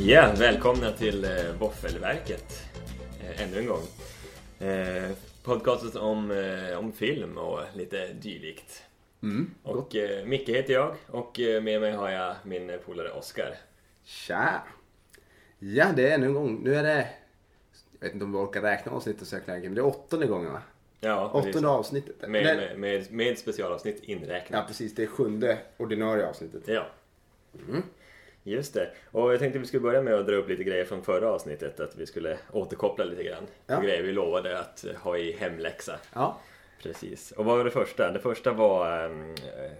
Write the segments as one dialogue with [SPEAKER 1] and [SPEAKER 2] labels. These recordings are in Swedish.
[SPEAKER 1] Ja, välkomna till eh, Våffelverket. Eh, ännu en gång. Eh, podcastet om, eh, om film och lite dylikt.
[SPEAKER 2] Mm,
[SPEAKER 1] Och eh, Micke heter jag och eh, med mig har jag min eh, polare Oskar.
[SPEAKER 2] Tja! Ja, det är ännu en gång. Nu är det... Jag vet inte om vi orkar räkna avsnittet så jäkla länge, men det är åttonde gången va?
[SPEAKER 1] Ja, precis.
[SPEAKER 2] Åttonde avsnittet.
[SPEAKER 1] Med,
[SPEAKER 2] Eller-
[SPEAKER 1] med, med, med specialavsnitt
[SPEAKER 2] Ja,
[SPEAKER 1] inräknat.
[SPEAKER 2] precis. Det är sjunde ordinarie avsnittet.
[SPEAKER 1] Ja. Mm. Just det. Och jag tänkte vi skulle börja med att dra upp lite grejer från förra avsnittet. Att vi skulle återkoppla lite grann.
[SPEAKER 2] Ja.
[SPEAKER 1] Grejer vi lovade att eh, ha i hemläxa.
[SPEAKER 2] Ja.
[SPEAKER 1] Precis. Och vad var det första? Det första var ehm, eh,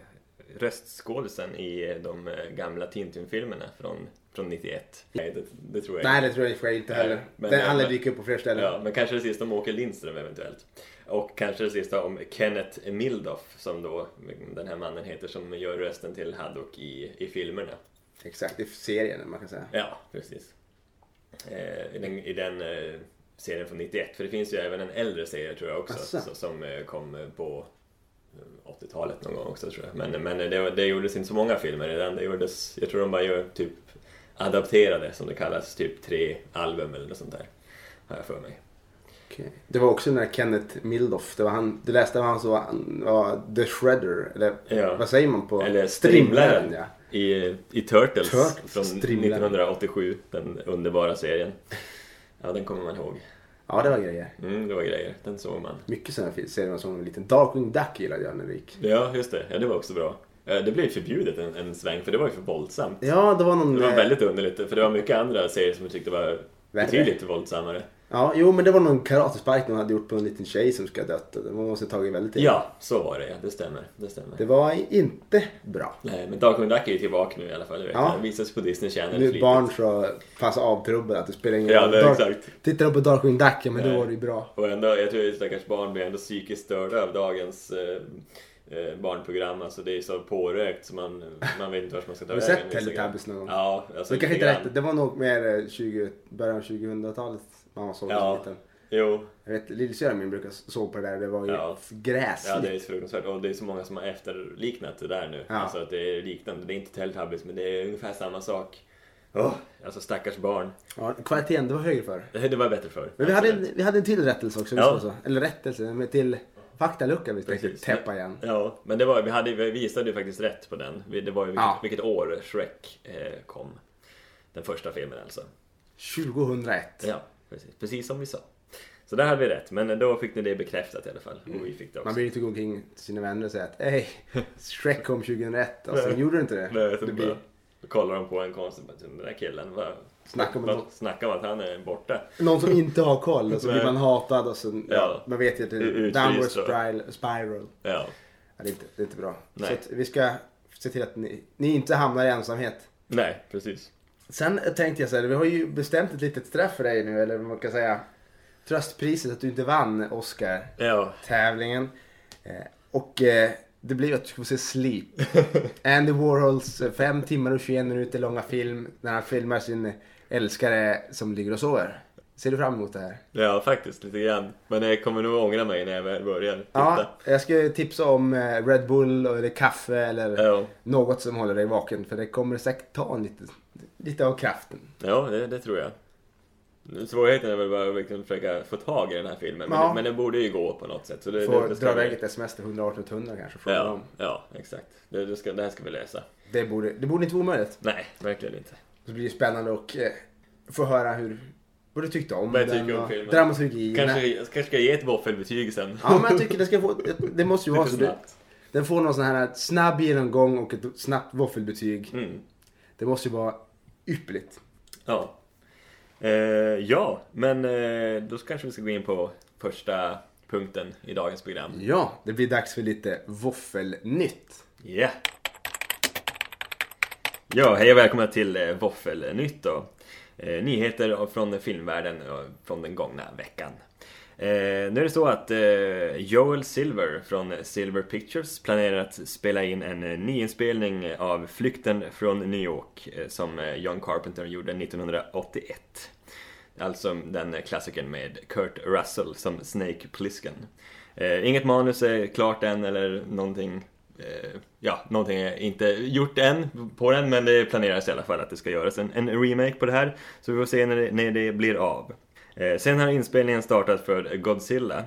[SPEAKER 1] röstskådisen i eh, de eh, gamla Tintin-filmerna från, från 91. Nej, det, det tror jag
[SPEAKER 2] Nej,
[SPEAKER 1] inte.
[SPEAKER 2] det tror jag i och för sig inte heller.
[SPEAKER 1] Nej, men-
[SPEAKER 2] Den alla
[SPEAKER 1] men-
[SPEAKER 2] dyker upp på fler ställen.
[SPEAKER 1] Ja, men kanske det sista om Åke Lindström eventuellt. Och kanske det sista om Kenneth Mildoff som då den här mannen heter som gör rösten till Haddock i, i filmerna.
[SPEAKER 2] Exakt, i serien man kan säga.
[SPEAKER 1] Ja, precis. Eh, I den, i den eh, serien från 91, för det finns ju även en äldre serie tror jag också
[SPEAKER 2] Asså.
[SPEAKER 1] så, som eh, kom eh, på eh, 80-talet någon gång också tror jag. Men, men eh, det, var- det gjordes inte så många filmer i den. Det gjordes, jag tror de bara gör typ adapterade som det kallas, typ tre album eller något sånt där. Har jag för mig.
[SPEAKER 2] Okej. Det var också den där Kenneth Mildoff. Det var han, du läste vad han så han var The Shredder. Eller
[SPEAKER 1] Ja.
[SPEAKER 2] vad säger man på?
[SPEAKER 1] Eller Strimlaren
[SPEAKER 2] ja.
[SPEAKER 1] i, i Turtles,
[SPEAKER 2] Turtles,
[SPEAKER 1] från
[SPEAKER 2] Strimlaren.
[SPEAKER 1] 1987, den underbara serien. Ja, den kommer man ihåg.
[SPEAKER 2] Ja, det var grejer.
[SPEAKER 1] Mm, det var grejer. Den såg man.
[SPEAKER 2] Mycket sådana fil- serier man såg när man var liten. Darkwing Duck gillade jag när det gick.
[SPEAKER 1] Ja, just det. Ja, det var också bra. Eh, Det blev förbjudet en, en sväng, för det var ju för våldsamt.
[SPEAKER 2] Ja, det var någon...
[SPEAKER 1] Det var
[SPEAKER 2] eh,
[SPEAKER 1] väldigt underligt, för det var mycket andra serier som jag tyckte var
[SPEAKER 2] Värre.
[SPEAKER 1] betydligt våldsammare.
[SPEAKER 2] Ja, jo men det var någon karatespark någon hade gjort på en liten tjej som ska ha dött. Man måste ha tagit väldigt illa.
[SPEAKER 1] Ja, så var det ja. Det stämmer. Det stämmer.
[SPEAKER 2] Det var inte bra.
[SPEAKER 1] Nej, men Darkwing Duck är ju tillbaka nu i alla fall. Du vet.
[SPEAKER 2] Ja.
[SPEAKER 1] Den visas på Disney Channel
[SPEAKER 2] Nu är
[SPEAKER 1] flitigt.
[SPEAKER 2] barn så pass avtrubbade att det spelar ingen
[SPEAKER 1] Ja,
[SPEAKER 2] roll.
[SPEAKER 1] det är
[SPEAKER 2] Dark-
[SPEAKER 1] exakt.
[SPEAKER 2] Tittar de på Darkwing Duck, ja men då
[SPEAKER 1] Nej.
[SPEAKER 2] var det ju bra.
[SPEAKER 1] Och ändå, jag tror att stackars barn blir ändå psykiskt störda av dagens eh, eh, barnprogram. Alltså det är så pårökt så man, man vet inte vart man ska ta
[SPEAKER 2] Har du
[SPEAKER 1] vägen.
[SPEAKER 2] sett
[SPEAKER 1] vissa grejer.
[SPEAKER 2] Teletubbies någon gång?
[SPEAKER 1] Ja, alltså
[SPEAKER 2] det
[SPEAKER 1] lite
[SPEAKER 2] kanske inte
[SPEAKER 1] grann.
[SPEAKER 2] rätt. Det var nog mer eh, 20, början av 2000-talet man såg det som
[SPEAKER 1] Ja,
[SPEAKER 2] liten.
[SPEAKER 1] jo.
[SPEAKER 2] Jag vet, lillsyrran min brukade såg på det där. Det var ju
[SPEAKER 1] Ja.
[SPEAKER 2] gräsligt.
[SPEAKER 1] Ja, det är så fruktansvärt. Och det är så många som har efterliknat det där nu.
[SPEAKER 2] Ja.
[SPEAKER 1] Alltså att det är liknande. Det är inte Teletubbies, men det är ungefär samma sak. Åh, alltså stackars barn.
[SPEAKER 2] Ja, kvaliteten, det var högre för.
[SPEAKER 1] Det det var bättre förr.
[SPEAKER 2] Men vi hade, en,
[SPEAKER 1] Absolut.
[SPEAKER 2] vi hade en till rättelse också.
[SPEAKER 1] Ja.
[SPEAKER 2] Ja. Så. Eller rättelse, men till faktaluckan vi tänkte
[SPEAKER 1] Precis.
[SPEAKER 2] täppa igen.
[SPEAKER 1] Ja, men det var, vi, hade, vi visade ju faktiskt rätt på den. Vi- Det var ju vilket,
[SPEAKER 2] Ja.
[SPEAKER 1] vilket år Shrek eh, kom. Den första filmen alltså.
[SPEAKER 2] 2001.
[SPEAKER 1] Ja, precis. Precis som vi sa. Så där hade vi rätt, men då fick ni det bekräftat i alla fall. Och vi fick det också.
[SPEAKER 2] Man vill ju inte gå omkring till sina vänner och säga att hej, Shrek kom 2001 och sen gjorde du inte det.
[SPEAKER 1] Nej, så
[SPEAKER 2] det
[SPEAKER 1] bara, då kollar de på en konstigt. bara, Den där killen, vad...
[SPEAKER 2] Snacka om
[SPEAKER 1] vad-
[SPEAKER 2] något."
[SPEAKER 1] Snacka om att han är borta.
[SPEAKER 2] Någon som inte har koll och så
[SPEAKER 1] Nej.
[SPEAKER 2] blir man hatad och så,
[SPEAKER 1] Ja.
[SPEAKER 2] ja. man vet ju att det är
[SPEAKER 1] Utfryst
[SPEAKER 2] downward
[SPEAKER 1] då.
[SPEAKER 2] spiral. spiral.
[SPEAKER 1] Ja.
[SPEAKER 2] Ja, det, är inte, det är inte bra.
[SPEAKER 1] Nej.
[SPEAKER 2] Så att vi ska se till att ni, ni inte hamnar i ensamhet.
[SPEAKER 1] Nej, precis.
[SPEAKER 2] Sen tänkte jag så här, vi har ju bestämt ett litet straff för dig nu, eller vad man kan säga. Tröstpriset att du inte vann
[SPEAKER 1] Ja,
[SPEAKER 2] Oscar-tävlingen. Eh, Och eh, det blev att du skulle få se Sleep. Andy Warhols eh, fem timmar och 21 minuter långa film när han filmar sin älskare som ligger och sover. Ser du fram emot det här?
[SPEAKER 1] ja, faktiskt lite grann. Men jag kommer nog ångra mig när jag väl börjar titta.
[SPEAKER 2] Ja, jag ska ju tipsa om eh, Red Bull eller kaffe eller
[SPEAKER 1] Ja,
[SPEAKER 2] något som håller dig vaken för det kommer säkert ta en lite, lite av kraften.
[SPEAKER 1] ja det, det tror jag. Svårigheten är väl bara att verkligen försöka få tag i den här filmen. Men,
[SPEAKER 2] Ja.
[SPEAKER 1] det, men det borde ju gå på något sätt. Så det,
[SPEAKER 2] Får
[SPEAKER 1] det, det
[SPEAKER 2] dra
[SPEAKER 1] vi-
[SPEAKER 2] iväg ett sms till 118 100 kanske och fråga
[SPEAKER 1] Ja,
[SPEAKER 2] dem.
[SPEAKER 1] ja, exakt. Det, det, ska, det här ska vi lösa.
[SPEAKER 2] Det borde, det borde inte vara omöjligt.
[SPEAKER 1] Nej, verkligen inte.
[SPEAKER 2] Så blir det spännande och eh, få höra hur, vad du tyckte om
[SPEAKER 1] Vad jag tycker
[SPEAKER 2] den
[SPEAKER 1] om
[SPEAKER 2] och
[SPEAKER 1] filmen.
[SPEAKER 2] dramaturgin.
[SPEAKER 1] Kanske, jag kanske ska ge ett våffelbetyg sen.
[SPEAKER 2] Ja men jag tycker det ska få, det måste ju vara så.
[SPEAKER 1] Lite
[SPEAKER 2] Du,
[SPEAKER 1] snabbt.
[SPEAKER 2] den får någon sån här snabb genomgång och ett snabbt våffelbetyg.
[SPEAKER 1] Mm.
[SPEAKER 2] Det måste ju vara ypperligt.
[SPEAKER 1] Ja. Eh, ja, men eh, då kanske vi ska gå in på första punkten i dagens program.
[SPEAKER 2] Ja, det blir dags för lite våffelnytt.
[SPEAKER 1] Ja! Ja, hej och välkomna till eh, Våffelnytt då. Eh, nyheter från filmvärlden eh, från den gångna veckan. Eh, nu är det så att eh, Joel Silver från Silver Pictures planerar att spela in en eh, nyinspelning av Flykten från New York eh, som eh, John Carpenter gjorde 1981. Alltså den klassikern med Kurt Russell som Snake Plissken. Eh, inget manus är klart än eller någonting eh, ja, någonting är inte gjort än på den men det planeras i alla fall att det ska göras en, en remake på det här. Så vi får se när det, när det blir av. Eh, sen har inspelningen startat för Godzilla.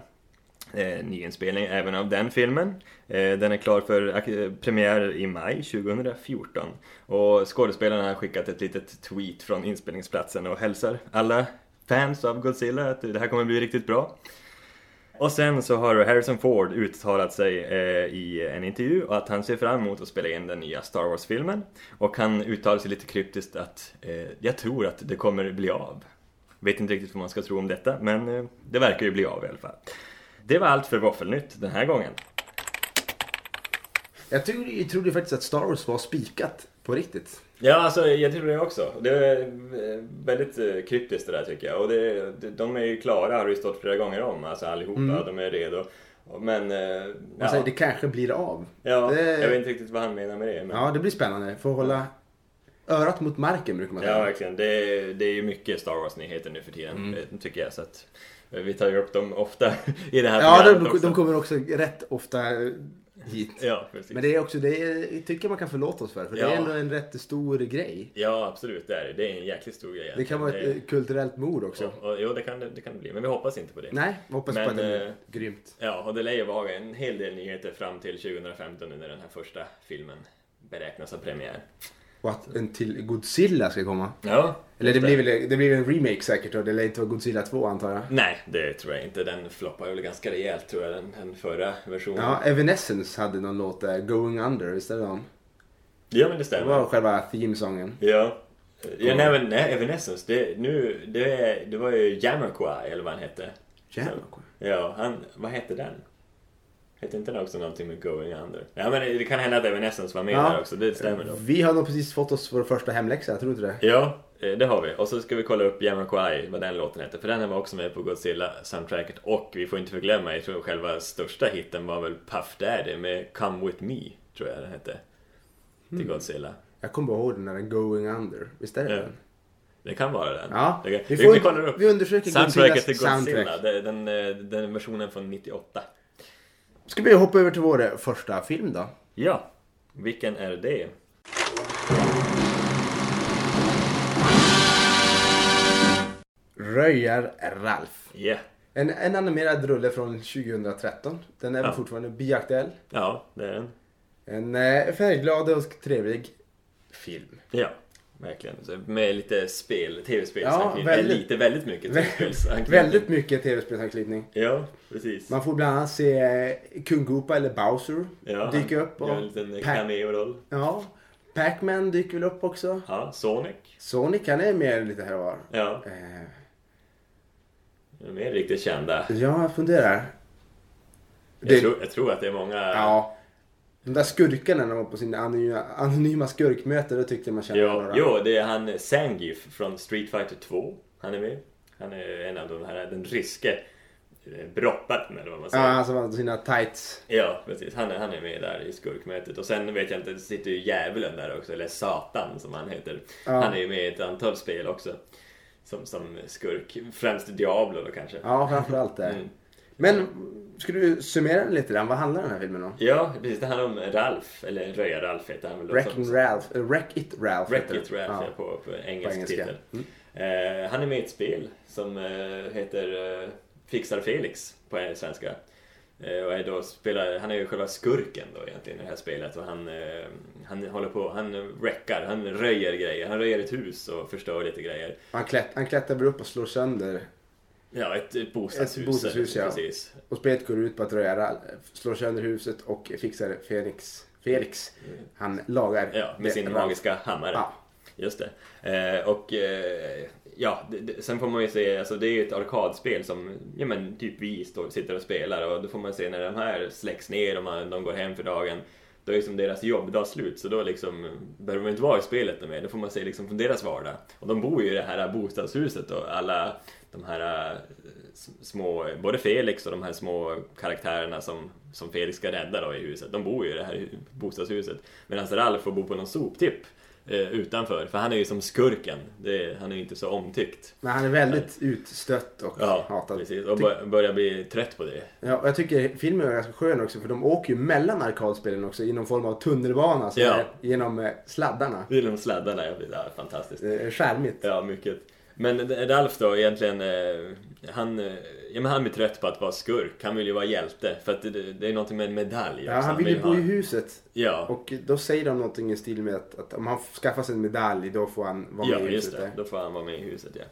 [SPEAKER 1] Eh, nyinspelning även av den filmen. Eh, den är klar för ak- eh, premiär i maj 2014. Och skådespelarna har skickat ett litet tweet från inspelningsplatsen och hälsar alla fans av Godzilla att det här kommer bli riktigt bra. Och sen så har Harrison Ford uttalat sig eh, i en intervju att han ser fram emot att spela in den nya Star Wars-filmen. Och han uttalar sig lite kryptiskt att eh, jag tror att det kommer bli av. Vet inte riktigt vad man ska tro om detta, men eh, det verkar ju bli av i alla fall. Det var allt för Våffelnytt den här gången.
[SPEAKER 2] Jag trodde, jag trodde faktiskt att Star Wars var spikat på riktigt.
[SPEAKER 1] Ja, alltså jag tror det också. Det är eh, väldigt eh, kryptiskt det där tycker jag. Och det, det- de är ju klara, har det ju stått flera gånger om, alltså allihopa. De är redo. Men... eh,
[SPEAKER 2] Man
[SPEAKER 1] Ja,
[SPEAKER 2] säger det kanske blir av.
[SPEAKER 1] ja,
[SPEAKER 2] det-
[SPEAKER 1] jag vet inte riktigt vad han menar med det. Men...
[SPEAKER 2] Ja, det blir spännande. Får hålla örat mot marken brukar man
[SPEAKER 1] Ja,
[SPEAKER 2] säga.
[SPEAKER 1] verkligen. Det, det är ju mycket Star Wars-nyheter nu för tiden,
[SPEAKER 2] Mm.
[SPEAKER 1] eh, tycker jag. Så att eh, vi tar ju upp dem ofta i det här
[SPEAKER 2] Ja,
[SPEAKER 1] programmet
[SPEAKER 2] de,
[SPEAKER 1] också.
[SPEAKER 2] de kommer också rätt ofta hit.
[SPEAKER 1] Ja, precis.
[SPEAKER 2] Men det är också, det är, tycker jag man kan förlåta oss för. För det
[SPEAKER 1] Ja.
[SPEAKER 2] är ändå en rätt stor grej.
[SPEAKER 1] Ja, absolut. Det är det. Det är en jäkligt stor grej.
[SPEAKER 2] Det kan vara ett eh, kulturellt mord också.
[SPEAKER 1] och, och, Jo, det kan det, det kan det bli. Men vi hoppas inte på det.
[SPEAKER 2] Nej, hoppas
[SPEAKER 1] Men,
[SPEAKER 2] på att det blir
[SPEAKER 1] eh,
[SPEAKER 2] grymt.
[SPEAKER 1] Ja, och det lär ju vara en hel del nyheter fram till 2015 nu när den här första filmen beräknas ha premiär.
[SPEAKER 2] Och att en till Godzilla ska komma.
[SPEAKER 1] Ja.
[SPEAKER 2] Eller det
[SPEAKER 1] just
[SPEAKER 2] blir väl eh, det blir en remake säkert och det lär inte vara Godzilla 2 antar jag.
[SPEAKER 1] Nej, det tror jag inte. Den floppar väl ganska rejält tror jag, den, den förra versionen.
[SPEAKER 2] Ja, Evanescence hade någon låt där, Going Under, visst är det dem?
[SPEAKER 1] ja men det
[SPEAKER 2] Det
[SPEAKER 1] stämmer.
[SPEAKER 2] var själva themesången.
[SPEAKER 1] Ja. Ja,
[SPEAKER 2] Mm.
[SPEAKER 1] nej, men, nej, Evanescence, det, nu, det, är- det var ju Jamiroquai eller vad han hette.
[SPEAKER 2] Jävlar.
[SPEAKER 1] Ja, han, vad hette den? Hette inte den också någonting med Going Under? Ja, men det, det kan hända att Evanescence var med
[SPEAKER 2] Ja.
[SPEAKER 1] där också, det stämmer nog.
[SPEAKER 2] Vi har nog precis fått oss vår första hemläxa, jag tror inte det?
[SPEAKER 1] Ja, eh, det har vi. Och så ska vi kolla upp Jamiroquai, vad den låten hette. För den var också med på Godzilla-soundtracket. Och vi får inte förglömma, jag tror själva största hitten var väl Puff Daddy med Come With Me, tror jag den hette. Till Godzilla.
[SPEAKER 2] Jag kommer bara ihåg den där Going Under, visst är det
[SPEAKER 1] Ja.
[SPEAKER 2] den?
[SPEAKER 1] Det kan vara den.
[SPEAKER 2] Ja,
[SPEAKER 1] Det kan-
[SPEAKER 2] vi
[SPEAKER 1] vi,
[SPEAKER 2] får-
[SPEAKER 1] vi kollar upp.
[SPEAKER 2] vi undersöker
[SPEAKER 1] soundtracket
[SPEAKER 2] Godzillas
[SPEAKER 1] till Godzilla.
[SPEAKER 2] soundtrack.
[SPEAKER 1] Det- Den, eh, den versionen från 98.
[SPEAKER 2] Ska vi hoppa över till vår eh, första film då?
[SPEAKER 1] Ja, vilken är det?
[SPEAKER 2] Röjar Ralf.
[SPEAKER 1] Ja,
[SPEAKER 2] En, en animerad rulle från 2013. Den är väl
[SPEAKER 1] Ja.
[SPEAKER 2] fortfarande biaktuell.
[SPEAKER 1] ja det är den.
[SPEAKER 2] En eh, färgglad och trevlig film.
[SPEAKER 1] Ja, verkligen. Så Med lite spel, tv-spel.
[SPEAKER 2] Ja,
[SPEAKER 1] Ja,
[SPEAKER 2] väldigt-
[SPEAKER 1] Lite, väldigt mycket tv-spelsanknytning.
[SPEAKER 2] Väldigt mycket tv-spelsanknytning.
[SPEAKER 1] Ja, precis.
[SPEAKER 2] Man får bland annat se eh, Kung Goopa eller Bowser
[SPEAKER 1] Ja,
[SPEAKER 2] dyka upp.
[SPEAKER 1] Och...
[SPEAKER 2] Och
[SPEAKER 1] Gör en liten
[SPEAKER 2] Pac-
[SPEAKER 1] cameo-roll.
[SPEAKER 2] ja, Pac-Man dyker väl upp också.
[SPEAKER 1] Ja, Sonic.
[SPEAKER 2] Sonic han är med lite här och var.
[SPEAKER 1] Ja,
[SPEAKER 2] Eh,
[SPEAKER 1] de är riktigt kända.
[SPEAKER 2] ja, jag funderar.
[SPEAKER 1] Jag, tror, jag tror att det är många...
[SPEAKER 2] Ja. De där skurkarna när de var på sina anonyma, anonyma skurkmöte, då tyckte jag man kände
[SPEAKER 1] Jo,
[SPEAKER 2] några.
[SPEAKER 1] jo, det är han Sangif från Street Fighter 2. Han är med. Han är en av de här, den ryske eh, brottaren eller vad man
[SPEAKER 2] Ja,
[SPEAKER 1] säger.
[SPEAKER 2] han som hade sina tights.
[SPEAKER 1] Ja, precis. Han är, han är med där i skurkmötet. Och sen vet jag inte, det sitter ju djävulen där också, eller Satan som han heter.
[SPEAKER 2] Ja.
[SPEAKER 1] Han är ju med i ett antal spel också. Som, som skurk. Främst Diablo då kanske.
[SPEAKER 2] Ja, framförallt det.
[SPEAKER 1] Mm.
[SPEAKER 2] Men, ska du summera den lite grann? Vad handlar den här filmen om?
[SPEAKER 1] Ja, precis. Det handlar om Ralf, eller Röja-Ralf heter han väl. då som-
[SPEAKER 2] Wreck-It Ralph. eh, Wreck-It Ralph heter
[SPEAKER 1] Wreck-It
[SPEAKER 2] den.
[SPEAKER 1] Ralph
[SPEAKER 2] Ja.
[SPEAKER 1] ja. på, på engelsk
[SPEAKER 2] engelska. Mm.
[SPEAKER 1] titel. Eh, han är med i ett spel som eh, heter eh, Fixar Felix på svenska. Eh, och är då spelar, han är ju själva skurken då egentligen i det här spelet och han, eh, han håller på, han wreckar, han röjer grejer. Han röjer ett hus och förstör lite grejer.
[SPEAKER 2] Han, klätt, han klättrar väl upp och slår sönder.
[SPEAKER 1] Ja, ett, ett bostadshus.
[SPEAKER 2] Ett bostadshus, ja.
[SPEAKER 1] Precis.
[SPEAKER 2] Och spelet går ut på att röja Ralph. Slår sönder huset och fixar Felix. Felix. Han lagar.
[SPEAKER 1] Ja, med
[SPEAKER 2] det-
[SPEAKER 1] sin
[SPEAKER 2] Ralph.
[SPEAKER 1] magiska hammare.
[SPEAKER 2] Ja.
[SPEAKER 1] Just det. Eh, och eh, ja, det, det, sen får man ju se, alltså det är ju ett arkadspel som ja, men, typ vi står, sitter och spelar och då får man se när de här släcks ner och man, de går hem för dagen. Då är liksom deras jobbdag slut så då liksom behöver man inte vara i spelet mer. Då får man se liksom från deras vardag. Och de bor ju i det här bostadshuset och alla de här eh, s- små, både Felix och de här små karaktärerna som, som Felix ska rädda då i huset. De bor ju i det här hu- bostadshuset. Medan Ralf får bo på någon soptipp eh, utanför. För han är ju som skurken. Det är, han är ju inte så omtyckt.
[SPEAKER 2] Men han är väldigt utstött och
[SPEAKER 1] Ja,
[SPEAKER 2] hatad.
[SPEAKER 1] precis. Och bör- börjar bli trött på det.
[SPEAKER 2] Ja, och jag tycker filmen är ganska skön också för de åker ju mellan arkadspelen också i någon form av tunnelbana som
[SPEAKER 1] Ja.
[SPEAKER 2] är genom eh, sladdarna.
[SPEAKER 1] Genom sladdarna, ja, det är fantastiskt.
[SPEAKER 2] Eh, Skärmigt.
[SPEAKER 1] Ja, mycket. Men Ralf då egentligen, eh, han, eh, ja, men han blir trött på att vara skurk. Han vill ju vara hjälte. För att det, det är någonting med en medalj
[SPEAKER 2] Ja,
[SPEAKER 1] också.
[SPEAKER 2] han vill ju bo
[SPEAKER 1] ha-
[SPEAKER 2] i huset
[SPEAKER 1] Ja,
[SPEAKER 2] och då säger de någonting i stil med att, att om han skaffar sig en medalj då får han vara
[SPEAKER 1] ja
[SPEAKER 2] med i
[SPEAKER 1] just
[SPEAKER 2] huset.
[SPEAKER 1] det.
[SPEAKER 2] där.
[SPEAKER 1] Då får han vara med i huset, ja.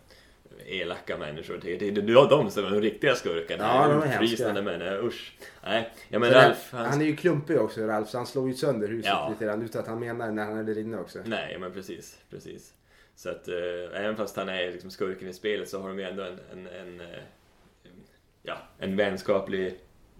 [SPEAKER 1] Elaka människor. Det det- det är de som är de riktiga skurkarna.
[SPEAKER 2] Ja, de är
[SPEAKER 1] Utfrysande människor. Usch. Nej, ja men
[SPEAKER 2] Så där-
[SPEAKER 1] Ralf, han...
[SPEAKER 2] han är ju klumpig också Ralf så han slår ju sönder huset
[SPEAKER 1] Ja.
[SPEAKER 2] lite grann utan att han menar när han är där inne också.
[SPEAKER 1] Nej, ja, men precis. precis. Så att eh, även fast han är liksom skurken i spelet så har de ju ändå en, en, en, eh, ja, en vänskaplig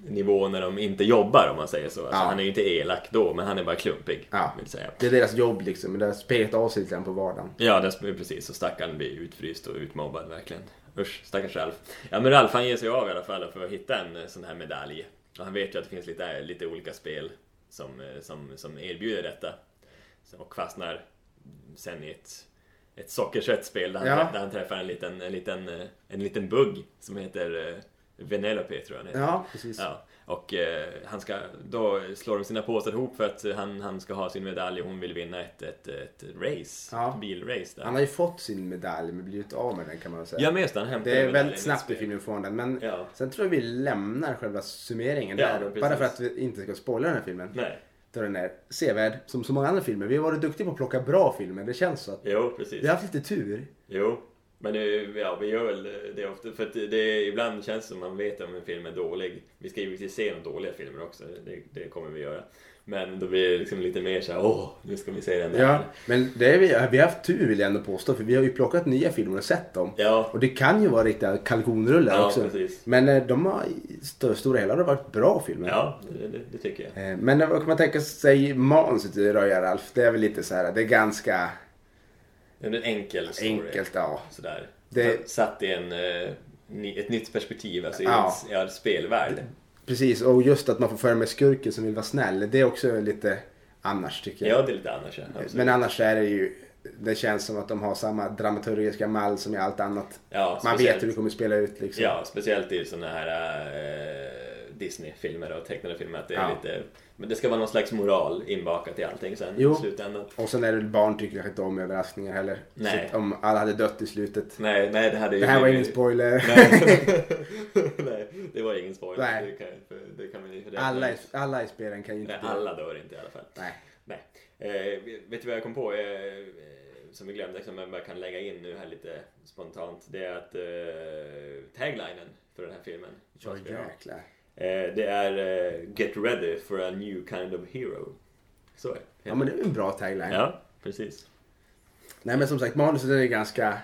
[SPEAKER 1] nivå när de inte jobbar om man säger så. Alltså,
[SPEAKER 2] Ja.
[SPEAKER 1] Han är ju inte elak då, men han är bara klumpig.
[SPEAKER 2] Ja.
[SPEAKER 1] Vill säga.
[SPEAKER 2] Det är deras jobb liksom, men det har spelat av sig lite grann på vardagen.
[SPEAKER 1] Ja, det är precis. Och stackaren blir utfryst och utmobbad verkligen. Usch, stackars Ralf. Ja, men Ralf han ger sig av i alla fall för att hitta en eh, sån här medalj. Och han vet ju att det finns lite, eh, lite olika spel som, eh, som, som erbjuder detta. Så- Och fastnar sen i ett, ett sockersötspel där, han
[SPEAKER 2] Ja.
[SPEAKER 1] trä- där han träffar en liten, en liten, eh, en liten bugg som heter eh, Venelope, tror jag han heter.
[SPEAKER 2] Ja, precis.
[SPEAKER 1] Ja, och eh, han ska, då slår de sina påsar ihop för att eh, han, han ska ha sin medalj och hon vill vinna ett, ett, ett race,
[SPEAKER 2] Ja.
[SPEAKER 1] ett bilrace där.
[SPEAKER 2] Han har ju fått sin medalj men blivit av med den kan man väl säga.
[SPEAKER 1] Ja men just det, han hämtar
[SPEAKER 2] Det är
[SPEAKER 1] medaljen
[SPEAKER 2] väldigt snabbt i
[SPEAKER 1] spelet.
[SPEAKER 2] filmen från den. Men
[SPEAKER 1] Ja.
[SPEAKER 2] sen tror jag vi lämnar själva summeringen
[SPEAKER 1] Ja,
[SPEAKER 2] där.
[SPEAKER 1] precis.
[SPEAKER 2] Bara för att vi inte ska spoila den här filmen.
[SPEAKER 1] Nej,
[SPEAKER 2] Då den är sevärd som så många andra filmer. Vi har varit duktiga på att plocka bra filmer. Det känns så. Att
[SPEAKER 1] jo precis.
[SPEAKER 2] vi har haft lite tur.
[SPEAKER 1] Jo. Men eh, ja, vi gör väl det ofta, för att det, ibland känns det som man vet om en film är dålig. Vi ska givetvis se de dåliga filmer också, det, det kommer vi göra. Men då blir det liksom lite mer så här, åh, nu ska vi se den där.
[SPEAKER 2] Men det är vi, vi har haft tur vill jag ändå påstå. För vi har ju plockat nya filmer och sett dem.
[SPEAKER 1] Ja.
[SPEAKER 2] Och det kan ju vara riktiga kalkonrullar
[SPEAKER 1] Ja,
[SPEAKER 2] också.
[SPEAKER 1] precis.
[SPEAKER 2] Men eh, de har i st- stora hela har varit bra filmer.
[SPEAKER 1] Ja, det, det, det tycker jag.
[SPEAKER 2] Eh, Men vad kan man tänka sig manuset i Röja Ralf? Det är väl lite så här. Det är ganska
[SPEAKER 1] Det är en enkel story.
[SPEAKER 2] enkelt. Ja.
[SPEAKER 1] Sådär.
[SPEAKER 2] Det-
[SPEAKER 1] Satt i en, eh, ny- ett nytt perspektiv, alltså i
[SPEAKER 2] Ja.
[SPEAKER 1] en ja, spelvärld.
[SPEAKER 2] Precis, och just att man får följa med skurken som vill vara snäll. Det är också lite annars tycker jag.
[SPEAKER 1] Ja, det är lite annars. Ja, absolut.
[SPEAKER 2] Men annars är det ju... Det känns som att de har samma dramaturgiska mall som i allt annat.
[SPEAKER 1] Ja,
[SPEAKER 2] man
[SPEAKER 1] speciellt.
[SPEAKER 2] vet hur det kommer spela ut liksom.
[SPEAKER 1] Ja, speciellt i såna här eh, Disney-filmer och tecknade filmer. Att det, är
[SPEAKER 2] Ja.
[SPEAKER 1] lite, men det ska vara någon slags moral inbakat i allting sen
[SPEAKER 2] Jo.
[SPEAKER 1] i slutändan.
[SPEAKER 2] Och sen är det barn tycker kanske inte om överraskningar heller.
[SPEAKER 1] Nej.
[SPEAKER 2] Så att om alla hade dött i slutet.
[SPEAKER 1] Nej, nej, det hade ju
[SPEAKER 2] Det här var ingen
[SPEAKER 1] blivit-
[SPEAKER 2] spoiler.
[SPEAKER 1] Nej. nej, det var ingen spoiler.
[SPEAKER 2] Nej.
[SPEAKER 1] Det kan, för- det kan vi, det
[SPEAKER 2] Alla, i- alla i spelen kan ju inte
[SPEAKER 1] Nej,
[SPEAKER 2] dö.
[SPEAKER 1] alla dör inte i alla fall.
[SPEAKER 2] Nej.
[SPEAKER 1] Nej. Eh, vet du vad jag kom på? Eh, eh, som vi glömde, som jag bara kan lägga in nu här lite spontant. Det är att eh, taglinen för den här filmen.
[SPEAKER 2] Ja, jäklar.
[SPEAKER 1] Eh, det är eh, Get ready for a new kind of hero. Så är det.
[SPEAKER 2] Ja men det är ju en bra tagline.
[SPEAKER 1] Ja, precis.
[SPEAKER 2] Nej men som sagt manuset är ju ganska...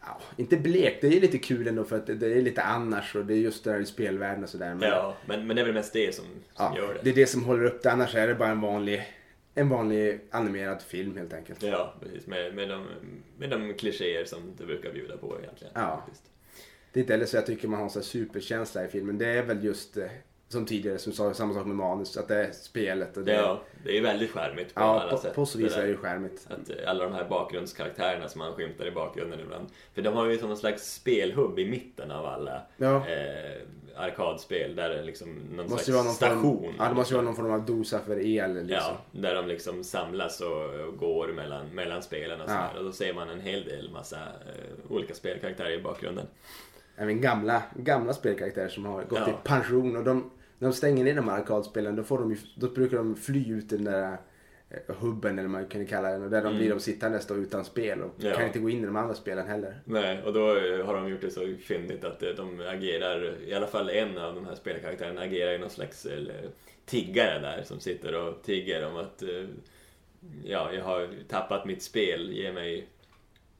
[SPEAKER 2] Ja, inte blek, det är ju lite kul ändå för att det- det är lite annars och det är just det där i spelvärlden och sådär. Men,
[SPEAKER 1] Ja, men, men det är väl mest det som, som
[SPEAKER 2] ja,
[SPEAKER 1] gör det.
[SPEAKER 2] det är det som håller upp det, annars är det bara en vanlig, en vanlig animerad film helt enkelt.
[SPEAKER 1] Ja, precis. Med, med, de, med de klichéer som det brukar bjuda på egentligen.
[SPEAKER 2] Ja.
[SPEAKER 1] Faktiskt.
[SPEAKER 2] Det är inte heller så jag tycker man har en sån här superkänsla i filmen. Det är väl just eh, som tidigare, som sa samma sak med manus, att det är spelet och det...
[SPEAKER 1] ja, det är ju väldigt charmigt på
[SPEAKER 2] ja
[SPEAKER 1] alla
[SPEAKER 2] på,
[SPEAKER 1] sätt.
[SPEAKER 2] på så vis
[SPEAKER 1] Det där.
[SPEAKER 2] är det ju skärmigt.
[SPEAKER 1] Att eh, alla de här bakgrundskaraktärerna som man skymtar i bakgrunden ibland. För de har ju som någon slags spelhubb i mitten av alla
[SPEAKER 2] Ja.
[SPEAKER 1] eh, arkadspel. Där det är liksom någon
[SPEAKER 2] Det måste ju
[SPEAKER 1] slags
[SPEAKER 2] vara någon
[SPEAKER 1] station.
[SPEAKER 2] Form, ja, det måste ju vara någon form av dosa för el liksom.
[SPEAKER 1] Ja, där de liksom samlas och och går mellan, mellan spelen och
[SPEAKER 2] Ja.
[SPEAKER 1] sådär. Och då ser man en hel del massa eh, olika spelkaraktärer i bakgrunden.
[SPEAKER 2] Även gamla, gamla spelkaraktärer som har gått
[SPEAKER 1] Ja.
[SPEAKER 2] i pension. Och de, när de stänger ner de här arkadspelen då, får de, ju- då brukar de fly ut i den där eh, hubben eller vad man kan kalla den. Och där de blir de sittandes då utan spel och
[SPEAKER 1] Mm. Ja.
[SPEAKER 2] kan inte gå in i de andra spelen heller.
[SPEAKER 1] Nej, och då eh, har de gjort det så fyndigt att eh, de agerar, i alla fall en av de här spelkaraktärerna agerar i någon slags eh, tiggare där som sitter och tigger om att eh, ja, jag har tappat mitt spel, ge mig...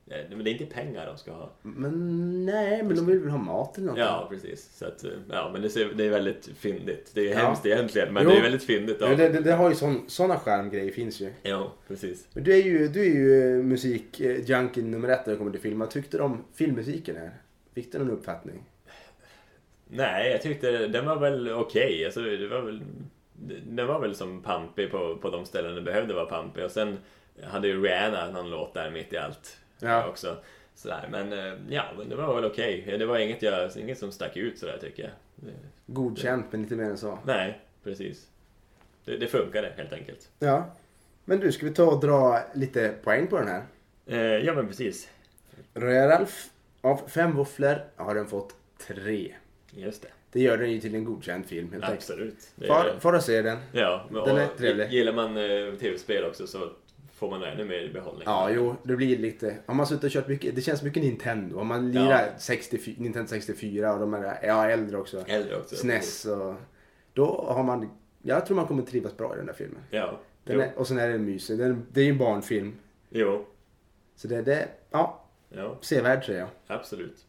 [SPEAKER 1] Nej, Men det är inte pengar de ska ha.
[SPEAKER 2] Men nej, men de vill väl ha mat eller något.
[SPEAKER 1] Ja, precis. Så att, eh, ja, men det, ser, det är väldigt fyndigt. Det är
[SPEAKER 2] Ja.
[SPEAKER 1] hemskt egentligen, men
[SPEAKER 2] Jo.
[SPEAKER 1] det är väldigt fyndigt.
[SPEAKER 2] Ja,
[SPEAKER 1] Av...
[SPEAKER 2] det, det, det har ju sån, såna skärmgrejer finns ju.
[SPEAKER 1] Ja, precis.
[SPEAKER 2] Men du är ju, du är ju eh, musikjunkie nummer ett när det kommer till film. Vad tyckte du om filmmusiken här? Fick du någon uppfattning?
[SPEAKER 1] Nej, jag tyckte den var väl okej. Alltså, det var väl, den var väl som pampig på, på de ställen den behövde vara pampig. Och sen Jag hade ju Rihanna någon låt där mitt i allt
[SPEAKER 2] Ja.
[SPEAKER 1] också. Sådär. Men eh, ja, men det var väl okej. Det var inget, jag, inget som stack ut sådär tycker jag. Det-
[SPEAKER 2] Godkänt, men inte mer än så.
[SPEAKER 1] Nej, precis. Det, det funkade helt enkelt.
[SPEAKER 2] Ja. Men du, ska vi ta och dra lite poäng på den här?
[SPEAKER 1] Eh, ja, men precis.
[SPEAKER 2] Ralf av fem våfflor har den fått tre.
[SPEAKER 1] Just det.
[SPEAKER 2] Det gör den ju till en godkänd film helt enkelt.
[SPEAKER 1] Absolut. Det,
[SPEAKER 2] Far, far och se den.
[SPEAKER 1] ja, men,
[SPEAKER 2] den är
[SPEAKER 1] och,
[SPEAKER 2] trevlig.
[SPEAKER 1] Gillar man eh, tv-spel också så får man ännu mer behållning.
[SPEAKER 2] Ja, jo, det blir lite... Om man suttit och kört mycket... Det känns mycket Nintendo. Om man lirar 64, Nintendo 64 och de här ja, äldre också.
[SPEAKER 1] Äldre också.
[SPEAKER 2] SNES och... Då har man... Jag tror man kommer trivas bra i den där filmen.
[SPEAKER 1] Ja.
[SPEAKER 2] Den
[SPEAKER 1] Jo.
[SPEAKER 2] är, och sen är den mysig. Den, det är ju en barnfilm.
[SPEAKER 1] jo.
[SPEAKER 2] Så det, det ja,
[SPEAKER 1] Ja,
[SPEAKER 2] sevärd säger jag.
[SPEAKER 1] absolut.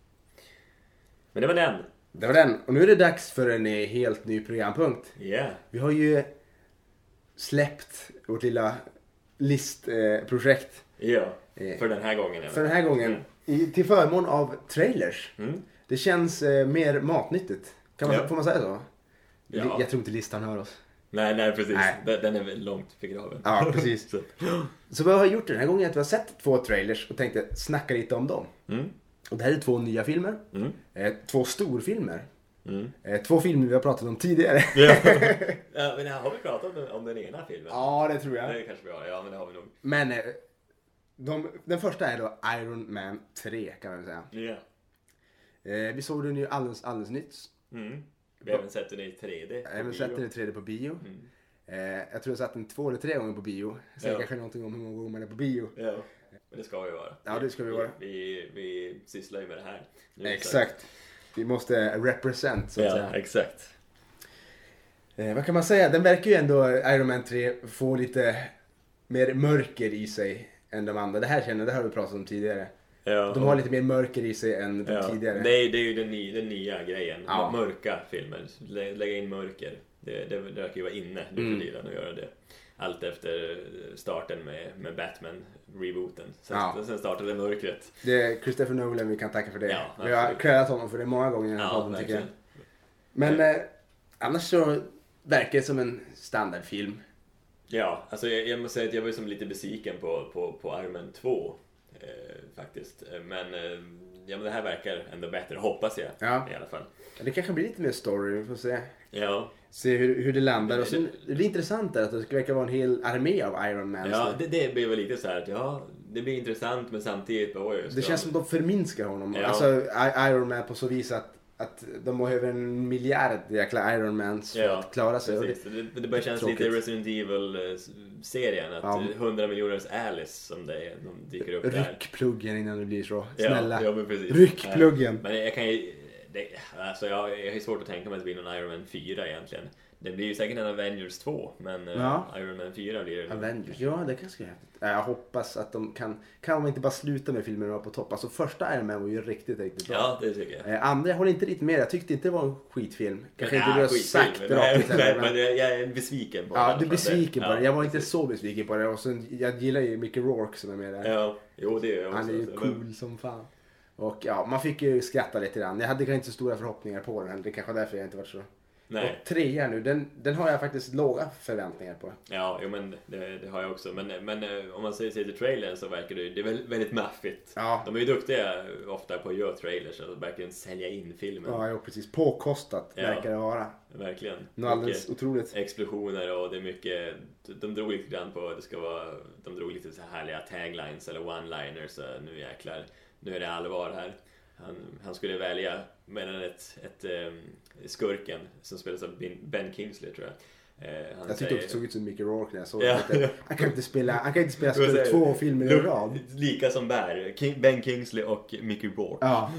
[SPEAKER 1] Men det var den.
[SPEAKER 2] Det var den. Och nu är det dags för en eh, helt ny programpunkt.
[SPEAKER 1] Yeah.
[SPEAKER 2] Vi har ju släppt vårt lilla listprojekt eh, projekt
[SPEAKER 1] Ja.
[SPEAKER 2] Eh,
[SPEAKER 1] För den här gången. ja.
[SPEAKER 2] för den här gången. I, till förmån av trailers.
[SPEAKER 1] Mm.
[SPEAKER 2] Det känns eh, mer matnyttigt. Kan man,
[SPEAKER 1] Ja.
[SPEAKER 2] Får man säga så?
[SPEAKER 1] Ja.
[SPEAKER 2] Jag tror inte listan hör oss.
[SPEAKER 1] Nej, nej precis.
[SPEAKER 2] Nej.
[SPEAKER 1] Den, den är väl långt begraven.
[SPEAKER 2] Ja, precis.
[SPEAKER 1] Så.
[SPEAKER 2] Så vad vi har gjort den här gången är att vi har sett två trailers och tänkte snacka lite om dem.
[SPEAKER 1] Mm.
[SPEAKER 2] Och det här är två nya filmer.
[SPEAKER 1] Mm.
[SPEAKER 2] Eh, två storfilmer.
[SPEAKER 1] Mm.
[SPEAKER 2] Eh, två filmer vi har pratat om tidigare.
[SPEAKER 1] Ja. ja, men har vi pratat om, om den ena filmen?
[SPEAKER 2] ja, det tror jag.
[SPEAKER 1] Det kanske vi har. Ja, men det har vi nog.
[SPEAKER 2] Men eh, de, den första är då Iron Man 3 kan man väl säga.
[SPEAKER 1] Ja.
[SPEAKER 2] Eh, vi såg den ju alldeles, alldeles nytt.
[SPEAKER 1] Mm. Vi har även sett den i 3D. på
[SPEAKER 2] Jag
[SPEAKER 1] bio.
[SPEAKER 2] har
[SPEAKER 1] Mm.
[SPEAKER 2] sett den i 3D på bio. Eh, jag tror jag satt den två eller tre gånger på bio. Säger
[SPEAKER 1] Ja.
[SPEAKER 2] kanske någonting om hur många gånger man är på bio.
[SPEAKER 1] Ja. Men det ska vi vara.
[SPEAKER 2] Ja, det ska vi vara.
[SPEAKER 1] Vi, vi sysslar ju med det här. Nu,
[SPEAKER 2] Exakt. Vi måste represent
[SPEAKER 1] så-
[SPEAKER 2] så att
[SPEAKER 1] Ja, exakt.
[SPEAKER 2] säga. Eh, vad kan man säga? Den verkar ju ändå, Iron Man 3, få lite mer mörker i sig än de andra. Det här känner jag, det här har vi pratat om tidigare.
[SPEAKER 1] Ja,
[SPEAKER 2] De har lite mer mörker i sig än de
[SPEAKER 1] ja.
[SPEAKER 2] tidigare.
[SPEAKER 1] Det är, det är ju den, ny, den nya grejen.
[SPEAKER 2] Ja.
[SPEAKER 1] Mörka filmer. Lä, lägga in mörker. Det, det, det verkar ju vara inne nu
[SPEAKER 2] Mm.
[SPEAKER 1] för tiden att göra det. Allt efter eh, starten med, med Batman-rebooten. Sen,
[SPEAKER 2] Ja.
[SPEAKER 1] sen startade mörkret.
[SPEAKER 2] Det är Christopher Nolan vi kan tacka för det.
[SPEAKER 1] Ja,
[SPEAKER 2] vi har
[SPEAKER 1] absolut.
[SPEAKER 2] creddat honom för det många gånger i den här
[SPEAKER 1] Ja,
[SPEAKER 2] podden tycker jag.
[SPEAKER 1] verkligen.
[SPEAKER 2] Men eh, annars så verkar det som en standardfilm.
[SPEAKER 1] Ja, alltså jag, jag måste säga att jag var ju som lite besviken på, på, på Armen 2 eh, faktiskt. Eh, Men, eh, ja, men det här verkar ändå bättre, hoppas jag
[SPEAKER 2] Ja.
[SPEAKER 1] i alla fall.
[SPEAKER 2] Det kanske blir lite mer story, vi får se.
[SPEAKER 1] Ja,
[SPEAKER 2] Se hur, hur det landar. Och sen, det är intressant där att det verkar vara en hel armé av Iron Man.
[SPEAKER 1] ja det, det blir väl lite så här att ja, det blir intressant men samtidigt... bara, Oj,
[SPEAKER 2] det känns som de förminskar honom.
[SPEAKER 1] Ja.
[SPEAKER 2] Alltså I- Iron Man på så vis att, att de behöver en miljard jäkla Iron Mans för att klara sig. Och
[SPEAKER 1] Precis. Det, det börjar kännas lite
[SPEAKER 2] tråkigt.
[SPEAKER 1] Resident Evil-serien. Att
[SPEAKER 2] Ja.
[SPEAKER 1] 100 miljoners Alice som det, de dyker upp
[SPEAKER 2] det,
[SPEAKER 1] där.
[SPEAKER 2] ryck pluggen innan det blir så.
[SPEAKER 1] Ja,
[SPEAKER 2] Snälla.
[SPEAKER 1] ja, men precis.
[SPEAKER 2] Ryck
[SPEAKER 1] Ja.
[SPEAKER 2] pluggen.
[SPEAKER 1] Men jag kan ju... Det, alltså jag, jag har svårt att tänka mig att det blir någon Iron Man 4 egentligen. Det blir ju säkert en Avengers 2, men eh,
[SPEAKER 2] Ja.
[SPEAKER 1] Iron Man 4 blir det. nog.
[SPEAKER 2] Avengers, ja det kanske är häftigt. Ja, Jag hoppas att de kan, kan de inte bara sluta med filmer de var på topp. Alltså första Iron Man var ju riktigt, riktigt bra.
[SPEAKER 1] Ja, det tycker jag.
[SPEAKER 2] Eh, Andra, jag håller inte riktigt med. Jag tyckte inte det var en skitfilm. Kanske
[SPEAKER 1] Men,
[SPEAKER 2] inte
[SPEAKER 1] ah,
[SPEAKER 2] du har
[SPEAKER 1] skitfilm.
[SPEAKER 2] sagt det
[SPEAKER 1] Nej,
[SPEAKER 2] rakt ut
[SPEAKER 1] nej,
[SPEAKER 2] heller,
[SPEAKER 1] men
[SPEAKER 2] men-
[SPEAKER 1] jag, jag är besviken på
[SPEAKER 2] Ja,
[SPEAKER 1] den.
[SPEAKER 2] du är besviken
[SPEAKER 1] Ja,
[SPEAKER 2] på det. Jag var inte
[SPEAKER 1] precis.
[SPEAKER 2] så besviken på det. Och sen, jag gillar ju Mickey Rourke som är med där.
[SPEAKER 1] Ja, jo det är jag också.
[SPEAKER 2] Han är ju
[SPEAKER 1] Men-
[SPEAKER 2] cool som fan. Och ja, man fick ju skratta lite grann. Jag hade kanske inte så stora förhoppningar på den. Det kanske var därför jag inte var så...
[SPEAKER 1] Nej.
[SPEAKER 2] Och trean nu, den, den har jag faktiskt låga förväntningar på.
[SPEAKER 1] Ja, jo, men det, det har jag också. Men, men eh, om man säger sig till trailern så verkar det, ju- det är väl- väldigt maffigt.
[SPEAKER 2] Ja.
[SPEAKER 1] De är ju duktiga eh, ofta på att göra trailers, alltså verkligen sälja in filmen.
[SPEAKER 2] Ja, jo, precis. Påkostat
[SPEAKER 1] Ja.
[SPEAKER 2] verkar det vara.
[SPEAKER 1] Verkligen.
[SPEAKER 2] Något alldeles
[SPEAKER 1] Mycket
[SPEAKER 2] otroligt.
[SPEAKER 1] explosioner och det är mycket, de- de drog lite grann på, det ska vara, de drog lite så här härliga taglines eller one-liners, så nu jäklar, nu är det allvar här. Han, han skulle välja mellan ett, ett ehm, skurken som spelas av Ben- Ben Kingsley tror jag. Eh, han
[SPEAKER 2] Jag tyckte också det såg ut som Mickey Rourke när jag såg
[SPEAKER 1] Ja.
[SPEAKER 2] det. Lite. Han kan inte spela, han kan inte spela
[SPEAKER 1] Vad
[SPEAKER 2] skurk
[SPEAKER 1] säger
[SPEAKER 2] två
[SPEAKER 1] du?
[SPEAKER 2] filmer i
[SPEAKER 1] Luke-
[SPEAKER 2] rad.
[SPEAKER 1] Lika som Bär. King, ben Kingsley och Mickey Rourke.
[SPEAKER 2] Ja.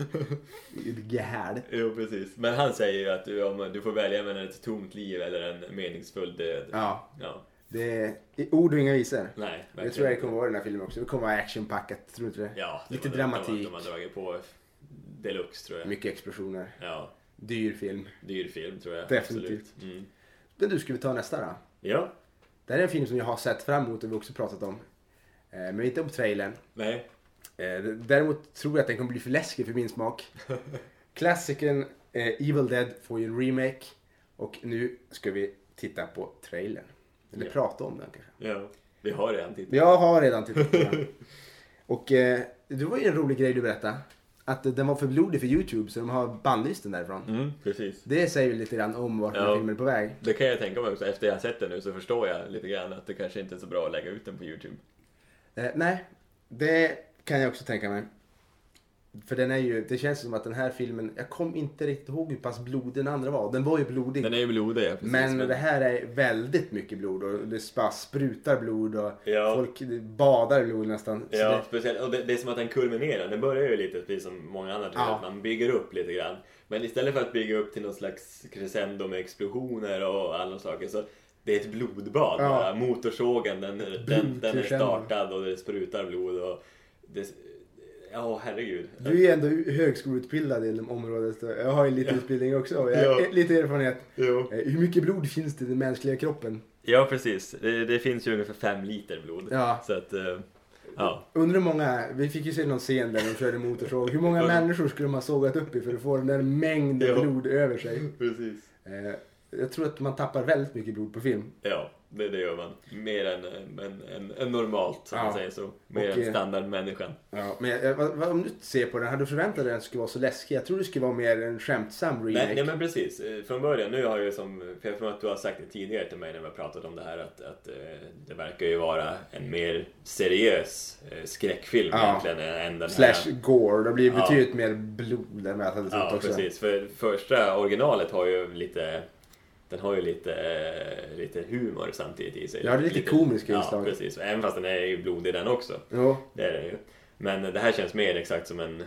[SPEAKER 2] Gehärd.
[SPEAKER 1] Jo, precis. Men han säger ju att du, om, du får välja mellan ett tomt liv eller en meningsfull död.
[SPEAKER 2] Ja.
[SPEAKER 1] Ja.
[SPEAKER 2] Det är ord och inga visor.
[SPEAKER 1] Nej,
[SPEAKER 2] Det
[SPEAKER 1] verkligen
[SPEAKER 2] tror jag det
[SPEAKER 1] inte.
[SPEAKER 2] kommer vara i den här filmen också. Det kommer vara actionpackat, tror du inte det?
[SPEAKER 1] Ja, det
[SPEAKER 2] Lite
[SPEAKER 1] var-
[SPEAKER 2] dramatik.
[SPEAKER 1] De, de har dragit på deluxe tror jag.
[SPEAKER 2] Mycket explosioner.
[SPEAKER 1] Ja,
[SPEAKER 2] Dyr film.
[SPEAKER 1] dyr film tror jag.
[SPEAKER 2] Definitivt.
[SPEAKER 1] Absolut. Mm.
[SPEAKER 2] Men du, ska vi ta nästa då?
[SPEAKER 1] Ja,
[SPEAKER 2] Det här är en film som jag har sett fram emot och vi har också pratat om. Eh, Men inte om trailern.
[SPEAKER 1] nej.
[SPEAKER 2] Eh, Däremot tror jag att den kommer bli för läskig för min smak. Klassikern eh, Evil Dead får ju en remake. Och nu ska vi titta på trailern. Eller
[SPEAKER 1] Ja.
[SPEAKER 2] prata om den kanske.
[SPEAKER 1] Ja. Vi har redan tittat.
[SPEAKER 2] Jag har redan tittat på den. Och eh, det var ju en rolig grej du berättade. Att den var för blodig för YouTube så de har bannlyst den därifrån.
[SPEAKER 1] Mm, precis.
[SPEAKER 2] Det säger ju lite grann om vart den
[SPEAKER 1] Ja.
[SPEAKER 2] här filmen är på väg.
[SPEAKER 1] Det kan jag tänka mig också. Efter jag har sett den nu så förstår jag lite grann att det kanske inte är så bra att lägga ut den på Youtube.
[SPEAKER 2] Eh, nej, det kan jag också tänka mig. För den är ju, det känns som att den här filmen, jag kom inte riktigt ihåg hur pass blodig den andra var. Den var ju blodig.
[SPEAKER 1] Den är ju blodig, ja, precis.
[SPEAKER 2] men det här är väldigt mycket blod och det bara sprutar blod och
[SPEAKER 1] Ja.
[SPEAKER 2] folk badar i blod nästan. Så
[SPEAKER 1] Ja,
[SPEAKER 2] det,
[SPEAKER 1] speciellt. Och det, det är som att den kulminerar. Den börjar ju lite precis som många andra tror
[SPEAKER 2] Ja.
[SPEAKER 1] att man bygger upp lite grann. Men istället för att bygga upp till någon slags crescendo med explosioner och alla saker så det är ett blodbad
[SPEAKER 2] Ja.
[SPEAKER 1] bara. Motorsågen den, den, den är
[SPEAKER 2] Blodcrescendo.
[SPEAKER 1] startad och det sprutar blod och... Det, ja, herregud.
[SPEAKER 2] Du är ju ändå högskoleutbildad inom området. så Jag har ju lite utbildning också. och
[SPEAKER 1] Ja.
[SPEAKER 2] Jag, e- Lite erfarenhet.
[SPEAKER 1] Jo.
[SPEAKER 2] Eh, Hur mycket blod finns det i den mänskliga kroppen?
[SPEAKER 1] Ja, precis. Det, det finns ju ungefär fem liter blod.
[SPEAKER 2] Ja.
[SPEAKER 1] Så att... eh, Ja.
[SPEAKER 2] Undrar hur många, vi fick ju se någon scen där de körde motorsåg. Hur många
[SPEAKER 1] Ja.
[SPEAKER 2] människor skulle de ha sågat upp i för att få den där mängden
[SPEAKER 1] Ja.
[SPEAKER 2] blod över sig?
[SPEAKER 1] Precis.
[SPEAKER 2] Eh, Jag tror att man tappar väldigt mycket blod på film.
[SPEAKER 1] Ja, det, det gör man. Mer än, eh, än, än, än normalt, om
[SPEAKER 2] Ja.
[SPEAKER 1] man säger så. Mer
[SPEAKER 2] Och, eh,
[SPEAKER 1] än standardmänniskan.
[SPEAKER 2] Ja, men jag, jag- vad, vad, om du ser på den, hade du förväntat dig att den skulle vara så läskig? Jag tror det skulle vara mer en skämtsam remake.
[SPEAKER 1] Nej, nej men precis, Eh, från början. Nu har jag ju som, för jag tror att du har sagt det tidigare till mig när vi har pratat om det här att, att eh, det verkar ju vara en mer seriös eh, skräckfilm
[SPEAKER 2] Ja.
[SPEAKER 1] egentligen än den
[SPEAKER 2] Slash
[SPEAKER 1] här.
[SPEAKER 2] gore, det blir
[SPEAKER 1] Ja.
[SPEAKER 2] betydligt mer blod än vad jag hade trott
[SPEAKER 1] Ja,
[SPEAKER 2] också.
[SPEAKER 1] precis. För första originalet har ju lite den har ju lite, eh, lite humor samtidigt i sig.
[SPEAKER 2] Ja, det är lite komiska
[SPEAKER 1] Ja,
[SPEAKER 2] inslag.
[SPEAKER 1] precis. Även fast den är ju blodig den också.
[SPEAKER 2] Jo.
[SPEAKER 1] Det är den ju. Men det här känns mer exakt som en,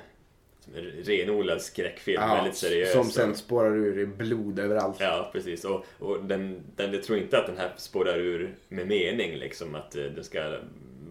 [SPEAKER 1] som en renodlad skräckfilm.
[SPEAKER 2] Ja,
[SPEAKER 1] väldigt seriös.
[SPEAKER 2] Som
[SPEAKER 1] och-
[SPEAKER 2] sen spårar ur i blod överallt.
[SPEAKER 1] Ja, precis. Och, och den, den, jag tror inte att den här spårar ur med mening. Liksom, att eh, det ska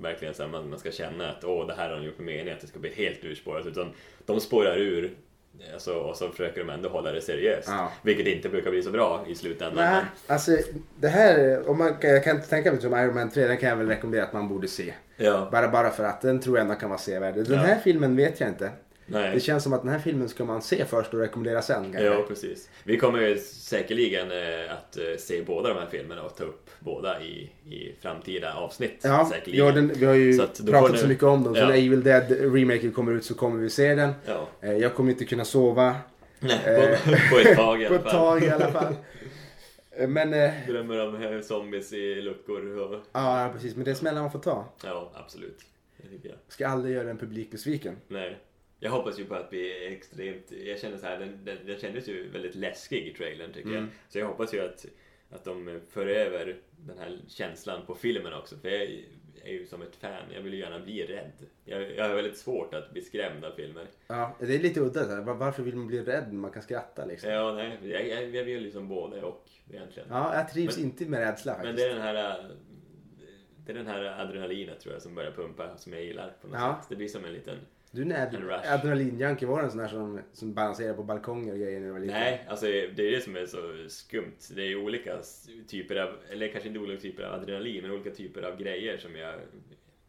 [SPEAKER 1] verkligen så här, man, man ska känna att åh, det här har de gjort med mening, att det ska bli helt urspårat. Utan de spårar ur eh, alltså, och så försöker de ändå hålla det seriöst.
[SPEAKER 2] Ja.
[SPEAKER 1] Vilket inte brukar bli så bra i slutändan.
[SPEAKER 2] Nej, alltså det här, om man, kan- jag kan inte tänka mig som Iron Man 3, den kan jag väl rekommendera att man borde se.
[SPEAKER 1] Men, ja,
[SPEAKER 2] Bara, bara för att den tror jag ändå kan vara sevärd. Den
[SPEAKER 1] Ja.
[SPEAKER 2] här filmen vet jag inte.
[SPEAKER 1] nej.
[SPEAKER 2] Det känns som att den här filmen ska man se först och rekommendera sen. kanske.
[SPEAKER 1] Ja, precis. Vi kommer ju säkerligen eh, att eh, se båda de här filmerna och ta upp båda i, i framtida avsnitt.
[SPEAKER 2] Ja,
[SPEAKER 1] säkerligen.
[SPEAKER 2] ja den, vi har ju
[SPEAKER 1] Så att då
[SPEAKER 2] pratat
[SPEAKER 1] får ni-
[SPEAKER 2] så mycket om den. Så
[SPEAKER 1] Ja.
[SPEAKER 2] när Evil Dead remaken kommer ut så kommer vi se den.
[SPEAKER 1] Ja.
[SPEAKER 2] Eh, Jag kommer inte kunna sova
[SPEAKER 1] Nej, på, på ett tag i
[SPEAKER 2] på
[SPEAKER 1] alla
[SPEAKER 2] ett
[SPEAKER 1] fall.
[SPEAKER 2] tag i alla fall. Eh, Men, eh,
[SPEAKER 1] Drömmer om eh, zombies i luckor och...
[SPEAKER 2] ja precis. Men det är smällar man får ta.
[SPEAKER 1] Ja, absolut. Det tycker jag.
[SPEAKER 2] Ska aldrig göra en publik besviken.
[SPEAKER 1] Nej. Jag hoppas ju på att bli extremt... Jag känner så här, den, den, den kändes ju väldigt läskig i trailern tycker
[SPEAKER 2] Mm.
[SPEAKER 1] jag. Så jag hoppas ju att, att de för över den här känslan på filmen också. För jag är ju som ett fan, jag vill ju gärna bli rädd. Jag, jag har väldigt svårt att bli skrämd av filmer.
[SPEAKER 2] Ja, det är lite udda. Så här. Var- Varför vill man bli rädd när man kan skratta liksom?
[SPEAKER 1] Ja, nej, jag, jag, jag vill liksom både och egentligen.
[SPEAKER 2] Ja, jag trivs
[SPEAKER 1] Men-
[SPEAKER 2] inte med rädsla
[SPEAKER 1] Men
[SPEAKER 2] faktiskt.
[SPEAKER 1] det är den här äh, det är den här adrenalinet tror jag som börjar pumpa som jag gillar på något
[SPEAKER 2] Ja.
[SPEAKER 1] sätt. Det blir som en liten...
[SPEAKER 2] Du är en
[SPEAKER 1] En
[SPEAKER 2] ad-
[SPEAKER 1] rush.
[SPEAKER 2] adrenalinjunkie. Var du en sån där som, som balanserade på balkonger och grejer när du var liten?
[SPEAKER 1] Nej, alltså det är det som är så skumt. Det är ju olika s- typer av, eller kanske inte olika typer av adrenalin, men olika typer av grejer som jag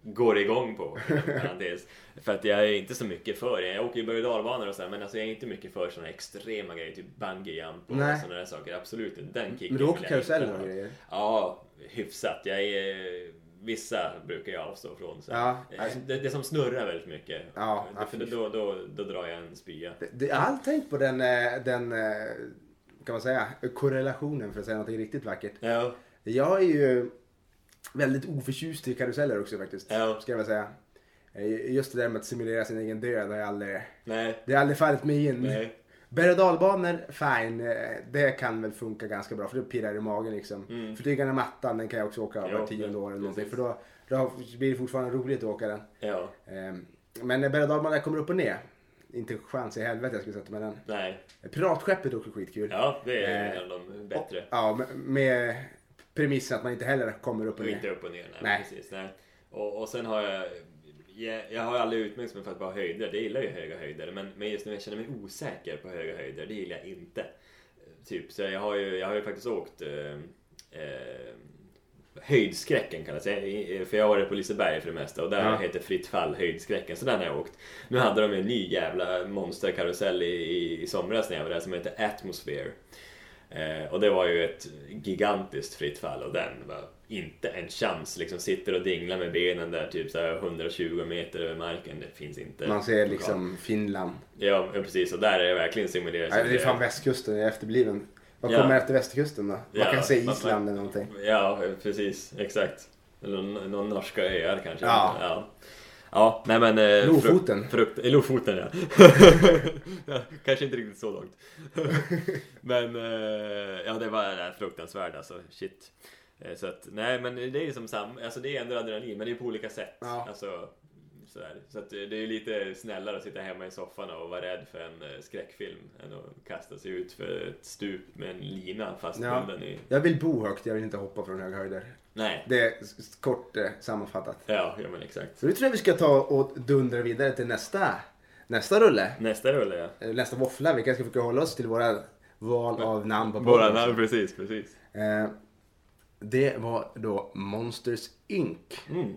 [SPEAKER 1] går igång på. inom parentes. för att jag är inte så mycket för det. Jag åker ju berg och dalbanor och så här, men alltså jag är inte mycket för sådana extrema grejer, typ bungee jump och
[SPEAKER 2] Nej.
[SPEAKER 1] sådana där saker. Absolut inte. Den kicken
[SPEAKER 2] Men du
[SPEAKER 1] vill
[SPEAKER 2] åker
[SPEAKER 1] jag
[SPEAKER 2] karuseller
[SPEAKER 1] inte
[SPEAKER 2] och
[SPEAKER 1] ha.
[SPEAKER 2] grejer?
[SPEAKER 1] Ja, hyfsat. Jag är, vissa brukar jag avstå från. Så.
[SPEAKER 2] Ja,
[SPEAKER 1] Eh,
[SPEAKER 2] alltså-
[SPEAKER 1] det, det som snurrar väldigt mycket.
[SPEAKER 2] Ja, ja,
[SPEAKER 1] för då,
[SPEAKER 2] fy.
[SPEAKER 1] då, då, då drar jag en spya.
[SPEAKER 2] Det- det- Jag har aldrig tänkt på den, eh, den, eh, kan man säga, korrelationen för att säga något riktigt vackert.
[SPEAKER 1] Ja,
[SPEAKER 2] Jag är ju väldigt oförtjust i karuseller också faktiskt.
[SPEAKER 1] Ja.
[SPEAKER 2] Ska jag väl säga. Eh, Just det där med att simulera sin egen död har jag aldrig,
[SPEAKER 1] nej,
[SPEAKER 2] det har aldrig fallit mig in.
[SPEAKER 1] nej.
[SPEAKER 2] Berg och dalbanor, fine. eh, Det kan väl funka ganska bra för det pirrar i magen liksom.
[SPEAKER 1] Mm.
[SPEAKER 2] Flygande mattan, den kan jag också åka
[SPEAKER 1] Ja,
[SPEAKER 2] var tionde år eller någonting. För
[SPEAKER 1] precis.
[SPEAKER 2] då, då blir det fortfarande roligt att åka den.
[SPEAKER 1] Ja,
[SPEAKER 2] Ehm, Men när berg och dalbanan kommer upp och ner. Inte chans i helvete jag skulle sätta mig den.
[SPEAKER 1] nej.
[SPEAKER 2] Piratskeppet är också skitkul.
[SPEAKER 1] Ja, det är
[SPEAKER 2] Eh,
[SPEAKER 1] en av de bättre.
[SPEAKER 2] Ja, med, med premissen att man inte heller kommer upp och
[SPEAKER 1] Och inte
[SPEAKER 2] ner.
[SPEAKER 1] upp och ner. Nej,
[SPEAKER 2] Nej.
[SPEAKER 1] precis. Nej. Och, och sen har jag... Jag, jag har aldrig utmärkt mig för att vara höjder. Det gillar ju höga höjder. Men, men just när jag känner mig osäker på höga höjder, det gillar jag inte. Eh, Typ, så jag har ju, jag har ju faktiskt åkt... Eh, eh, höjdskräcken kallas det. I- i- För jag har varit på Liseberg för det mesta och där
[SPEAKER 2] Ja.
[SPEAKER 1] heter Fritt fall höjdskräcken. Så den har jag åkt. Nu hade de ju en ny jävla monsterkarusell i, i, i somras när jag var där som heter Atmosphere. Eh, och det var ju ett gigantiskt fritt fall och den var inte en chans. Liksom sitter och dinglar med benen där typ så här 120 meter över marken. Det finns inte.
[SPEAKER 2] Man ser liksom Finland.
[SPEAKER 1] Ja, men precis. Och där är det verkligen simulerat.
[SPEAKER 2] Ja, det är fan västkusten, jag är efterbliven. Vad
[SPEAKER 1] Ja.
[SPEAKER 2] kommer efter västkusten då? Man
[SPEAKER 1] Ja,
[SPEAKER 2] kan säga
[SPEAKER 1] man-
[SPEAKER 2] Island eller någonting.
[SPEAKER 1] Ja, precis. Exakt. Eller någon, någon norska öar kanske.
[SPEAKER 2] Ja.
[SPEAKER 1] ja. Ja, nej men... Eh,
[SPEAKER 2] Lofoten.
[SPEAKER 1] Frukt, frukt, eh, Lofoten ja. ja. Kanske inte riktigt så långt. men eh, ja, det var eh, fruktansvärt alltså. Shit. Eh, så att, nej men det är ju som sam, alltså det är ändå adrenalin men det är på olika sätt.
[SPEAKER 2] Ja.
[SPEAKER 1] Alltså, sådär. Så att eh, det är ju lite snällare att sitta hemma i soffan och vara rädd för en eh, skräckfilm än att kasta sig ut för ett stup med en lina fastbunden i...
[SPEAKER 2] Jag vill bo högt, jag vill inte hoppa från höga höjder.
[SPEAKER 1] Nej,
[SPEAKER 2] Det är s- s- kort eh, sammanfattat.
[SPEAKER 1] Ja, ja men exakt.
[SPEAKER 2] Så nu tror jag vi ska ta och dundra vidare till nästa, nästa rulle.
[SPEAKER 1] Nästa rulle ja.
[SPEAKER 2] Eh, Nästa våffla. Vi kanske ska hålla oss till våra val av namn på
[SPEAKER 1] Våra
[SPEAKER 2] podden.
[SPEAKER 1] namn, precis, precis.
[SPEAKER 2] Eh, det var då Monsters Inc.
[SPEAKER 1] Mm.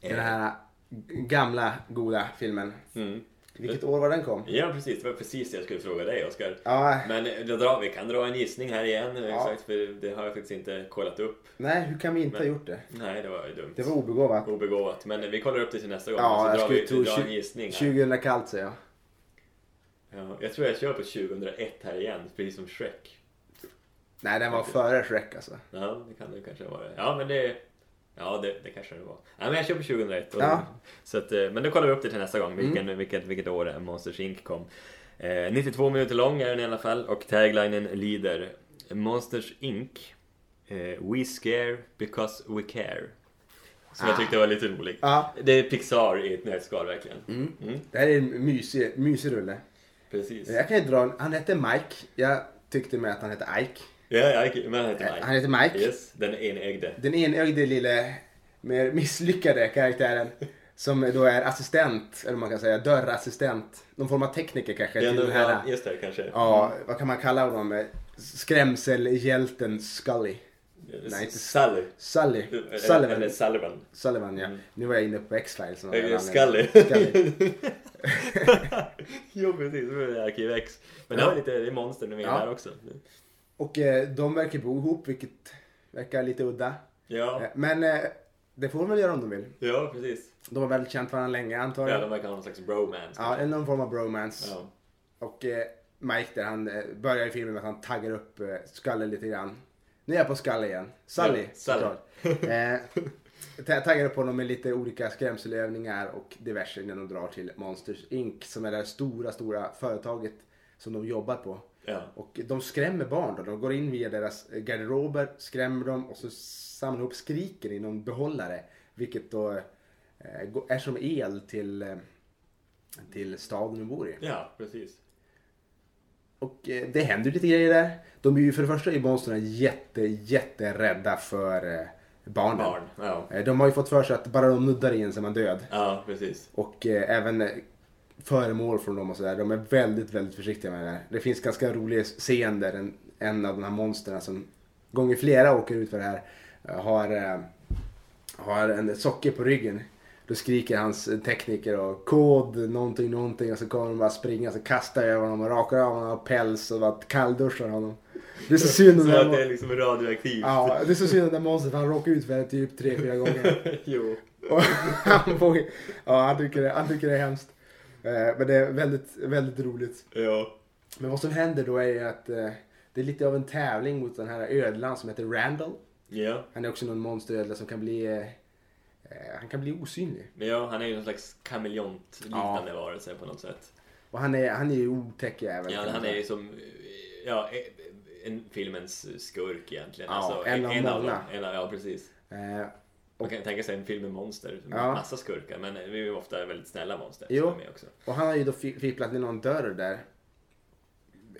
[SPEAKER 2] Den här g- gamla goda filmen.
[SPEAKER 1] Mm.
[SPEAKER 2] Vilket år var den kom?
[SPEAKER 1] Ja precis, det var precis det jag skulle fråga dig Oskar.
[SPEAKER 2] Ja,
[SPEAKER 1] Men eh, då drar, vi kan dra en gissning här igen, eh,
[SPEAKER 2] Ja.
[SPEAKER 1] exakt, för det har jag faktiskt inte kollat upp.
[SPEAKER 2] nej hur kan vi inte ha gjort det?
[SPEAKER 1] Nej, det var ju dumt.
[SPEAKER 2] Det var obegåvat.
[SPEAKER 1] Obegåvat, men eh, vi kollar upp det till nästa gång.
[SPEAKER 2] Ja, jag
[SPEAKER 1] så drar
[SPEAKER 2] skulle
[SPEAKER 1] vi,
[SPEAKER 2] tro
[SPEAKER 1] vi drar en
[SPEAKER 2] tju-
[SPEAKER 1] gissning här.
[SPEAKER 2] 2000 kallt säger jag.
[SPEAKER 1] Ja, jag tror jag kör på 2001 här igen, precis som Shrek.
[SPEAKER 2] Nej, den var före Shrek alltså.
[SPEAKER 1] Ja, det kan det kanske vara. Ja, men det... Ja, det, det kanske det var. Ja, men jag kör på 2001. Och,
[SPEAKER 2] Ja. Mm.
[SPEAKER 1] så att, eh, men då kollar vi upp det till nästa gång, vilken, vilket, vilket år Monsters Inc kom. Eh, 92 minuter lång är den i alla fall och taglinen lyder Monsters Inc. Eh, we scare because we care. Som jag tyckte var lite roligt.
[SPEAKER 2] Ah. Ja,
[SPEAKER 1] Det är Pixar i ett nötskal verkligen. Mm,
[SPEAKER 2] det här är en mysig, mysig rulle.
[SPEAKER 1] precis.
[SPEAKER 2] Jag kan ju dra en, han hette Mike. Jag tyckte med att han hette Ike.
[SPEAKER 1] Ja, ja, okej, men han heter Mike.
[SPEAKER 2] Han heter Mike.
[SPEAKER 1] Yes, den enögde.
[SPEAKER 2] Den enögde lille, mer misslyckade karaktären. Som då är assistent, eller man kan säga dörrassistent. Någon form av tekniker kanske.
[SPEAKER 1] Ja,
[SPEAKER 2] till
[SPEAKER 1] nu-
[SPEAKER 2] den här,
[SPEAKER 1] ja, just det, kanske.
[SPEAKER 2] ja, vad kan man kalla honom? Skrämselhjälten Scully. nej, inte-
[SPEAKER 1] Sally.
[SPEAKER 2] Sully.
[SPEAKER 1] Eller- Eller
[SPEAKER 2] Sullivan.
[SPEAKER 1] Sullivan.
[SPEAKER 2] Sullivan ja. Nu var jag inne på X-Files. av någon
[SPEAKER 1] Eller
[SPEAKER 2] anledning.
[SPEAKER 1] Scully.
[SPEAKER 2] Scully.
[SPEAKER 1] jo precis, det är Arkiv X. Men det
[SPEAKER 2] Ja.
[SPEAKER 1] var lite, det är monster nu med
[SPEAKER 2] Ja.
[SPEAKER 1] där också.
[SPEAKER 2] Och eh, de verkar bo ihop, vilket verkar lite udda. Eh,
[SPEAKER 1] Ja,
[SPEAKER 2] Men eh, det får de väl göra om de vill.
[SPEAKER 1] ja precis.
[SPEAKER 2] De har väl känt varandra länge antar
[SPEAKER 1] Ja,
[SPEAKER 2] jag.
[SPEAKER 1] de verkar ha någon slags bromance.
[SPEAKER 2] Ja, eller någon form av bromance.
[SPEAKER 1] Ja.
[SPEAKER 2] Och eh, Mike där, han eh, börjar i filmen med att han taggar upp eh, Scully lite grann. Nu är jag på Scully igen. Sully,
[SPEAKER 1] Ja, Sully.
[SPEAKER 2] såklart. Eh, ta- taggar upp honom med lite olika skrämselövningar och diverse när de drar till Monsters Inc. Som är det här stora, stora företaget som de jobbar på.
[SPEAKER 1] Ja.
[SPEAKER 2] Och de skrämmer barn då. De går in via deras garderober, skrämmer dem och så samlar de ihop skriken i någon behållare. Vilket då eh, går- är som el till, eh, till staden de bor i.
[SPEAKER 1] ja, precis.
[SPEAKER 2] Och eh, det händer lite grejer där. De är ju för det första i monstren jätte, jätterädda för eh, barnen.
[SPEAKER 1] Barn. Ja,
[SPEAKER 2] Eh, De har ju fått för sig att bara de nuddar in så är man död.
[SPEAKER 1] ja precis.
[SPEAKER 2] Och eh, även eh, föremål från dem och sådär. De är väldigt, väldigt försiktiga med det här. Det finns ganska roliga scen där en, en av de här monstren som gånger flera åker ut för det här eh, har, eh, har en socker på ryggen. Då skriker hans eh, tekniker och kod någonting någonting och så kommer de bara springa så kastar jag över honom och rakar av honom och päls och bara kallduschar honom. Det är så synd om
[SPEAKER 1] Så
[SPEAKER 2] det
[SPEAKER 1] att det är
[SPEAKER 2] här,
[SPEAKER 1] liksom radioaktivt.
[SPEAKER 2] ja, det är så synd om det här monstret för han råkar ut för det typ tre fyra gånger.
[SPEAKER 1] jo.
[SPEAKER 2] Och han får, ja, han tycker, det, han tycker det är hemskt. Eh, Men det är väldigt, väldigt roligt.
[SPEAKER 1] Ja.
[SPEAKER 2] Men vad som händer då är ju att eh, det är lite av en tävling mot den här ödlan som heter Randall.
[SPEAKER 1] Ja.
[SPEAKER 2] Han är också någon monsterödla som kan bli, eh, eh, han kan bli osynlig.
[SPEAKER 1] Men ja, han är ju någon slags kameleont-liknande varelse på något sätt.
[SPEAKER 2] Och han är, han är ju otäck jävel.
[SPEAKER 1] Ja,
[SPEAKER 2] kan man
[SPEAKER 1] han är
[SPEAKER 2] säga.
[SPEAKER 1] ju som ja, e- en filmens skurk egentligen.
[SPEAKER 2] Ja,
[SPEAKER 1] alltså,
[SPEAKER 2] en av många.
[SPEAKER 1] dem. En av, ja, precis.
[SPEAKER 2] Eh,
[SPEAKER 1] Man kan tänka sig en film med monster, med
[SPEAKER 2] Ja.
[SPEAKER 1] massa skurkar, men vi är ju ofta väldigt snälla monster
[SPEAKER 2] Jo.
[SPEAKER 1] som är med också.
[SPEAKER 2] Och han har ju då fi- fipplat i någon dörr där.